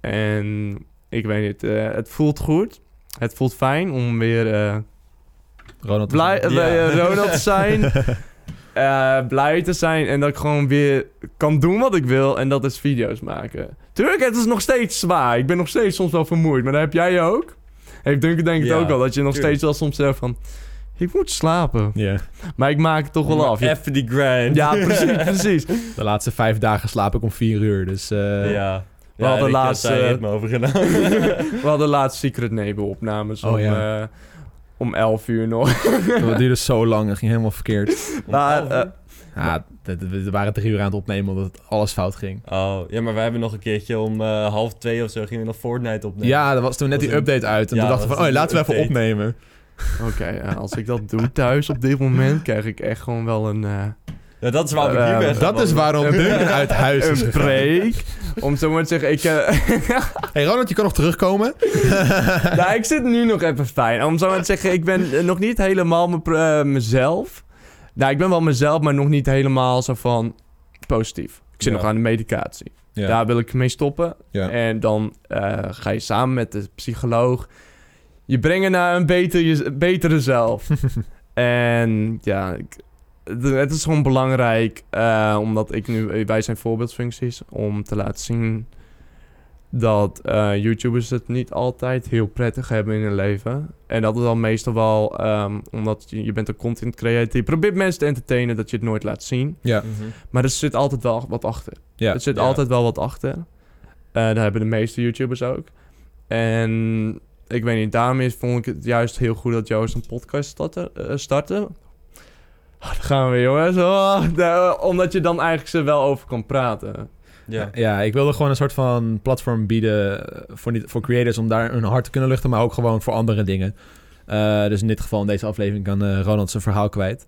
[SPEAKER 2] En ik weet niet, eh, het voelt goed. Het voelt fijn om weer eh,
[SPEAKER 1] Ronald.
[SPEAKER 2] blij, eh,
[SPEAKER 3] Ja.
[SPEAKER 2] bij, eh, Ronald te zijn. [LAUGHS] eh, blij te zijn en dat ik gewoon weer kan doen wat ik wil en dat is video's maken. Tuurlijk, het is nog steeds zwaar. Ik ben nog steeds soms wel vermoeid, maar dat heb jij ook. Heeft Duncan denk ik
[SPEAKER 3] Ja,
[SPEAKER 2] ook al, dat je nog
[SPEAKER 3] tuurlijk.
[SPEAKER 2] steeds wel soms zegt van... Ik moet slapen,
[SPEAKER 1] Ja.
[SPEAKER 2] maar ik maak het toch wel af. Je-
[SPEAKER 3] Even die grind.
[SPEAKER 2] Ja,
[SPEAKER 3] [LAUGHS]
[SPEAKER 2] [LAUGHS] precies, precies.
[SPEAKER 1] De laatste vijf dagen slaap ik om vier uur, dus... eh,
[SPEAKER 3] ja.
[SPEAKER 2] we hadden laatst,
[SPEAKER 3] Ik
[SPEAKER 2] eh,
[SPEAKER 3] heb me over gedaan.
[SPEAKER 2] We hadden laatst Secret Neighbor opnames
[SPEAKER 1] Oh,
[SPEAKER 2] om,
[SPEAKER 1] ja.
[SPEAKER 2] eh, om 11 uur nog.
[SPEAKER 1] [LAUGHS] Dat duurde zo lang, dat ging helemaal verkeerd.
[SPEAKER 2] [LAUGHS] Maar, eh,
[SPEAKER 1] Ja, d- d- we waren drie uur aan het opnemen omdat alles fout ging.
[SPEAKER 3] Oh, ja, maar wij hebben nog een keertje om eh, half twee of zo gingen we nog Fortnite opnemen.
[SPEAKER 1] Ja, er was toen net
[SPEAKER 3] Dat
[SPEAKER 1] die
[SPEAKER 3] was een-
[SPEAKER 1] update uit en
[SPEAKER 3] Ja,
[SPEAKER 1] toen dachten we
[SPEAKER 3] dat
[SPEAKER 1] van, oh,
[SPEAKER 3] was
[SPEAKER 1] laten we
[SPEAKER 3] een
[SPEAKER 1] even opnemen.
[SPEAKER 2] Oké, ja, als ik dat doe thuis op dit moment, krijg ik echt gewoon wel een... eh,
[SPEAKER 3] Ja, dat is waarom ik
[SPEAKER 2] Eh,
[SPEAKER 3] nu ben.
[SPEAKER 2] Ja,
[SPEAKER 1] Dat is
[SPEAKER 3] waar.
[SPEAKER 1] waarom Duncan uit huis is
[SPEAKER 2] een
[SPEAKER 1] gegaan.
[SPEAKER 2] break. Om zo maar te zeggen, ik, eh, [LAUGHS]
[SPEAKER 1] hey Ronald, je kan nog terugkomen.
[SPEAKER 2] nou, ik zit nu nog even fijn. Om zo maar te zeggen, ik ben eh, nog niet helemaal mijn pro- eh, mezelf. Nou, ik ben wel mezelf, maar nog niet helemaal zo van positief. Ik zit
[SPEAKER 3] Ja.
[SPEAKER 2] nog aan de medicatie.
[SPEAKER 1] Ja.
[SPEAKER 2] Daar wil ik mee stoppen.
[SPEAKER 1] Ja.
[SPEAKER 2] En dan eh, ga je samen met de psycholoog je brengen naar een beter je, betere
[SPEAKER 1] [LAUGHS]
[SPEAKER 2] zelf. en ja, ik- het- het is gewoon belangrijk, eh, omdat ik nu, wij zijn voorbeeldfuncties, om te laten zien dat eh, YouTubers het niet altijd heel prettig hebben in hun leven. En dat is dan meestal wel, ehm, omdat je, je bent een content creator, je probeert mensen te entertainen dat je het nooit laat zien.
[SPEAKER 3] Mhm.
[SPEAKER 2] Maar er zit altijd wel wat achter.
[SPEAKER 1] Ja.
[SPEAKER 2] Er zit
[SPEAKER 3] ja.
[SPEAKER 2] altijd wel wat achter. Eh dat hebben de meeste YouTubers ook. En ik weet niet, daarom is, vond ik het juist heel goed dat Joost een podcast startte. eh, startte. Ah, daar gaan we weer, jongens. Oh, daar- omdat je dan eigenlijk ze wel over kan praten.
[SPEAKER 1] Ja.
[SPEAKER 3] Ja.
[SPEAKER 1] ik wilde gewoon een soort van platform bieden eh, voor, niet, voor creators om daar hun hart te kunnen luchten, maar ook gewoon voor andere dingen. Eh, dus in dit geval, in deze aflevering, kan eh, Ronald zijn verhaal kwijt.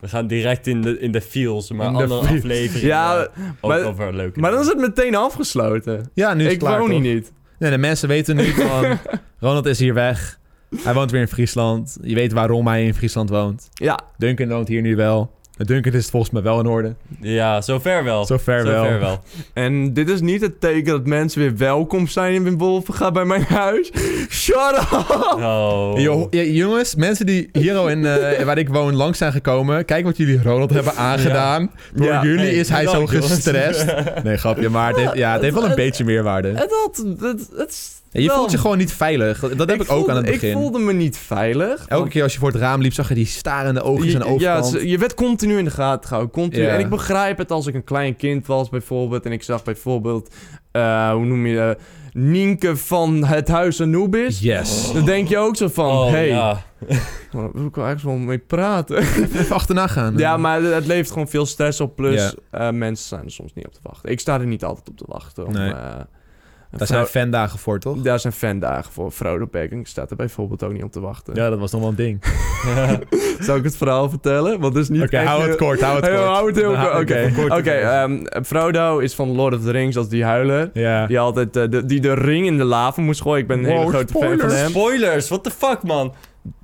[SPEAKER 3] We gaan direct in de, in de feels, maar
[SPEAKER 2] In de
[SPEAKER 3] andere
[SPEAKER 2] feels.
[SPEAKER 3] afleveringen
[SPEAKER 2] Ja,
[SPEAKER 3] eh, ook
[SPEAKER 2] maar-
[SPEAKER 3] over leuke
[SPEAKER 2] Maar dan is
[SPEAKER 3] dingen.
[SPEAKER 2] het meteen afgesloten.
[SPEAKER 1] Ja, nu is het
[SPEAKER 2] Ik
[SPEAKER 1] klaar,
[SPEAKER 2] woon
[SPEAKER 1] toch?
[SPEAKER 2] hier niet.
[SPEAKER 1] Nee, de mensen weten nu van... [LAUGHS] Ronald is hier weg. Hij woont weer in Friesland. Je weet waarom hij in Friesland woont.
[SPEAKER 2] Ja,
[SPEAKER 1] Duncan woont hier nu wel. Met Duncan is het volgens mij wel in orde.
[SPEAKER 3] Ja, zover wel.
[SPEAKER 1] Zover wel.
[SPEAKER 3] Zover wel.
[SPEAKER 2] en dit is niet het teken dat mensen weer welkom zijn in Wolven. Ga bij mijn huis. Shut up!
[SPEAKER 3] Oh.
[SPEAKER 1] Jo- ja, jongens, mensen die hier al in, eh, waar ik woon langs zijn gekomen... Kijk wat jullie Ronald hebben aangedaan. Door
[SPEAKER 2] Ja.
[SPEAKER 1] jullie
[SPEAKER 3] Hey,
[SPEAKER 1] is hij zo
[SPEAKER 3] bedankt, jongens.
[SPEAKER 1] gestrest.
[SPEAKER 3] [LAUGHS]
[SPEAKER 1] Nee, grapje. Maar het heeft, ja, het heeft wel een beetje meerwaarde.
[SPEAKER 2] Het had... Het, het,
[SPEAKER 1] En je
[SPEAKER 2] wel-
[SPEAKER 1] voelt je gewoon niet veilig. Dat heb ik, ook
[SPEAKER 2] voelde-
[SPEAKER 1] aan het
[SPEAKER 2] Ik
[SPEAKER 1] begin.
[SPEAKER 2] voelde me niet veilig. want-
[SPEAKER 1] Elke keer als je voor het raam liep, zag je die starende ogen aan de
[SPEAKER 2] Je- Ja,
[SPEAKER 1] overkant.
[SPEAKER 2] ze- je werd continu in de gaten gehouden. Continu.
[SPEAKER 1] Ja.
[SPEAKER 2] En ik begrijp het als ik een klein kind was, bijvoorbeeld. En ik zag bijvoorbeeld, eh, hoe noem je dat? Nienke van het huis Anubis.
[SPEAKER 1] Yes.
[SPEAKER 2] Dan denk je ook zo van,
[SPEAKER 3] Oh,
[SPEAKER 2] hey,
[SPEAKER 3] ja.
[SPEAKER 2] waar wil ik wel ergens wel mee praten? [LAUGHS]
[SPEAKER 1] Even achterna gaan.
[SPEAKER 2] ja, maar het levert gewoon veel stress op. Plus,
[SPEAKER 1] Ja.
[SPEAKER 2] eh, mensen staan er soms niet op te wachten. Ik sta er niet altijd op te wachten. Om,
[SPEAKER 1] Nee.
[SPEAKER 2] eh, een
[SPEAKER 1] Daar zijn
[SPEAKER 2] vrou-
[SPEAKER 1] fandagen voor, toch?
[SPEAKER 2] daar zijn fandagen voor. Frodo Begging staat er bijvoorbeeld ook niet op te wachten.
[SPEAKER 1] Ja, dat was nog wel een ding.
[SPEAKER 2] Zal ik het verhaal vertellen? Want het is niet
[SPEAKER 1] Oké,
[SPEAKER 2] echt
[SPEAKER 1] hou
[SPEAKER 2] heel-
[SPEAKER 1] het kort, [LAUGHS] hou het
[SPEAKER 2] Hey,
[SPEAKER 1] kort.
[SPEAKER 2] hou het heel
[SPEAKER 1] Nou,
[SPEAKER 2] kort. Oké,
[SPEAKER 1] oké.
[SPEAKER 2] Oké, ehm, Frodo is van Lord of the Rings als die huiler.
[SPEAKER 1] Ja.
[SPEAKER 2] Die altijd eh, de, die de ring in de lava moest gooien. Ik ben een
[SPEAKER 1] Wow,
[SPEAKER 2] hele grote fan van
[SPEAKER 1] spoilers.
[SPEAKER 2] hem.
[SPEAKER 3] Spoilers, what the fuck, man?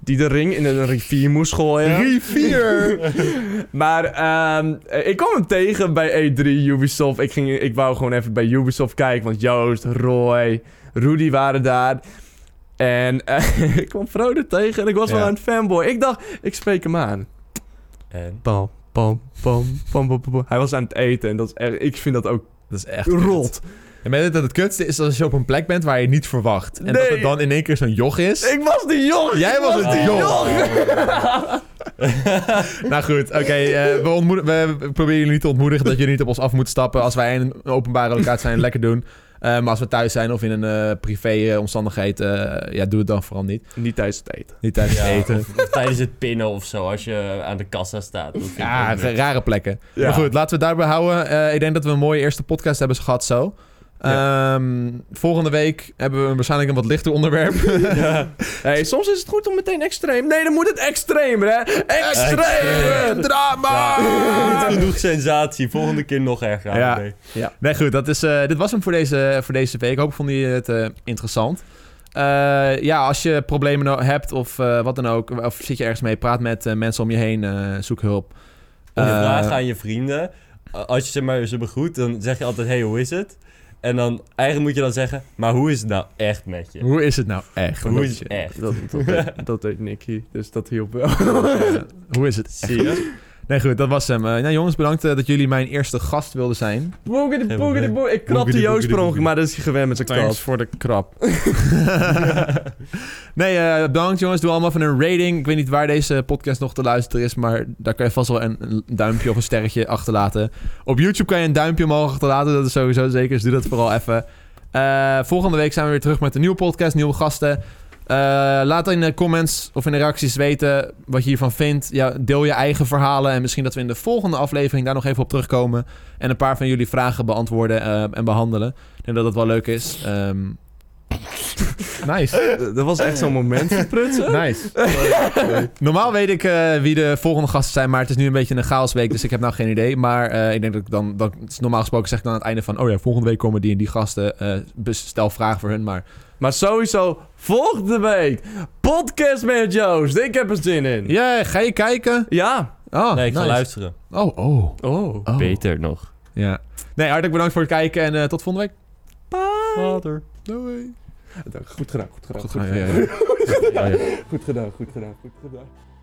[SPEAKER 2] Die de ring in een rivier moest gooien.
[SPEAKER 1] Rivier!
[SPEAKER 2] [LAUGHS] Maar ehm, eh, ik kwam hem tegen bij E3 Ubisoft. Ik, ging, ik wou gewoon even bij Ubisoft kijken. Want Joost, Roy, Rudy waren daar. En [LAUGHS] eh, ik kwam Frodo tegen en ik was
[SPEAKER 1] Ja.
[SPEAKER 2] wel een fanboy. Ik dacht, ik spreek hem aan.
[SPEAKER 3] En?
[SPEAKER 2] Pam, pam, pam, pam, pam, pam, pam. Hij was aan het eten en dat is erg, ik vind dat ook
[SPEAKER 1] dat is echt
[SPEAKER 2] rot.
[SPEAKER 1] En weet je dat het kutste is als je op een plek bent waar je niet verwacht. En dat
[SPEAKER 2] Nee.
[SPEAKER 1] het dan in één keer zo'n joch is.
[SPEAKER 2] Ik was die jong.
[SPEAKER 1] Jij
[SPEAKER 2] ik
[SPEAKER 1] was het
[SPEAKER 2] die
[SPEAKER 1] jong.
[SPEAKER 3] Oh.
[SPEAKER 1] Nou goed, oké. eh, we, ontmoed- we proberen jullie niet te ontmoedigen dat jullie niet op ons af moeten stappen. Als wij in een openbare locatie zijn, lekker doen. Eh, Eh, maar als we thuis zijn of in een eh, privé omstandigheid, eh, ja, doe het dan vooral niet.
[SPEAKER 2] [LAUGHS] Niet tijdens het eten. [LAUGHS]
[SPEAKER 1] Niet tijdens
[SPEAKER 3] Ja,
[SPEAKER 1] het [LAUGHS] eten.
[SPEAKER 3] Of, of tijdens het pinnen of zo, als je aan de kassa staat. Dat vind ik
[SPEAKER 1] Ja,
[SPEAKER 3] ook niet.
[SPEAKER 1] ra- rare plekken.
[SPEAKER 2] Ja.
[SPEAKER 1] Maar goed, laten we het daarbij houden. Eh, ik denk dat we een mooie eerste podcast hebben gehad zo. Ehm, volgende week hebben we waarschijnlijk een wat lichter onderwerp.
[SPEAKER 2] [LAUGHS] Hey, soms is het goed om meteen extreem. Nee, dan moet het extremer, hè? Extremer!
[SPEAKER 1] Drama!
[SPEAKER 3] Ja, niet genoeg sensatie. Volgende keer nog erger.
[SPEAKER 1] Ah! Ja.
[SPEAKER 3] AMD.
[SPEAKER 1] Nee, goed. Dat is, eh, dit was hem voor deze, voor deze week. Hopelijk vonden jullie het eh, interessant. Eh, ja, als je problemen no- hebt of eh, wat dan ook. Of zit je ergens mee, praat met eh, mensen om je heen. eh, zoek hulp.
[SPEAKER 3] Of
[SPEAKER 1] Eh,
[SPEAKER 3] vragen aan je vrienden. A- Als je ze maar ze begroet, dan zeg je altijd: hey, hoe is het? En dan eigenlijk moet je dan zeggen: maar hoe is het nou echt met je?
[SPEAKER 1] Hoe is het nou echt?
[SPEAKER 3] Hoe
[SPEAKER 1] [LAUGHS]
[SPEAKER 3] is het echt?
[SPEAKER 2] Dat, dat, deed, [LAUGHS] dat deed Nicky, dus dat hielp [LAUGHS] wel.
[SPEAKER 1] Hoe is het?
[SPEAKER 3] Zie je?
[SPEAKER 1] Nee, goed. Dat was hem. Eh, nou, jongens, bedankt eh, dat jullie mijn eerste gast wilden zijn.
[SPEAKER 2] Boogedy,
[SPEAKER 3] Geen
[SPEAKER 2] boogedy,
[SPEAKER 3] probleem.
[SPEAKER 2] boogedy. Ik knapte
[SPEAKER 3] Boogedy,
[SPEAKER 2] Joost
[SPEAKER 3] boogedy,
[SPEAKER 2] per ongeluk,
[SPEAKER 3] boogedy.
[SPEAKER 2] maar dat is hij gewend met zijn klas.
[SPEAKER 1] voor de krap. [LAUGHS] nee, eh, bedankt jongens. Doe allemaal van een rating. Ik weet niet waar deze podcast nog te luisteren is, maar daar kan je vast wel een, een duimpje of een sterretje achterlaten. Op YouTube kan je een duimpje omhoog achterlaten, dat is sowieso zeker. Dus doe dat vooral even. Eh, volgende week zijn we weer terug met een nieuwe podcast, nieuwe gasten. Eh, laat in de comments of in de reacties weten wat je hiervan vindt. Ja, deel je eigen verhalen en misschien dat we in de volgende aflevering daar nog even op terugkomen. En een paar van jullie vragen beantwoorden eh, en behandelen. Ik denk dat dat wel leuk is. Ehm, Nice,
[SPEAKER 2] Dat was echt zo'n moment. Prutsen.
[SPEAKER 1] nice. [LAUGHS] Normaal weet ik eh, wie de volgende gasten zijn, maar het is nu een beetje een chaosweek, dus ik heb nou geen idee. Maar eh, ik denk dat ik dan, dat, normaal gesproken zeg ik dan aan het einde van, oh ja, volgende week komen die en die gasten, eh, dus stel vragen voor hun. Maar
[SPEAKER 2] Maar sowieso, volgende week, podcast met Joost. Ik heb er zin in.
[SPEAKER 1] ja, ga je kijken?
[SPEAKER 2] Ja.
[SPEAKER 1] Oh,
[SPEAKER 3] Nee, ik ga
[SPEAKER 1] nice.
[SPEAKER 3] luisteren.
[SPEAKER 1] Oh, oh,
[SPEAKER 2] Oh.
[SPEAKER 1] oh.
[SPEAKER 3] Beter nog.
[SPEAKER 1] Ja. Nee, hartelijk bedankt voor het kijken en eh, tot volgende week.
[SPEAKER 3] Later.
[SPEAKER 1] Doei.
[SPEAKER 2] Goed gedaan, goed gedaan.
[SPEAKER 1] Goed gedaan. Ja, ja, ja.
[SPEAKER 2] Goed gedaan, goed gedaan, goed gedaan.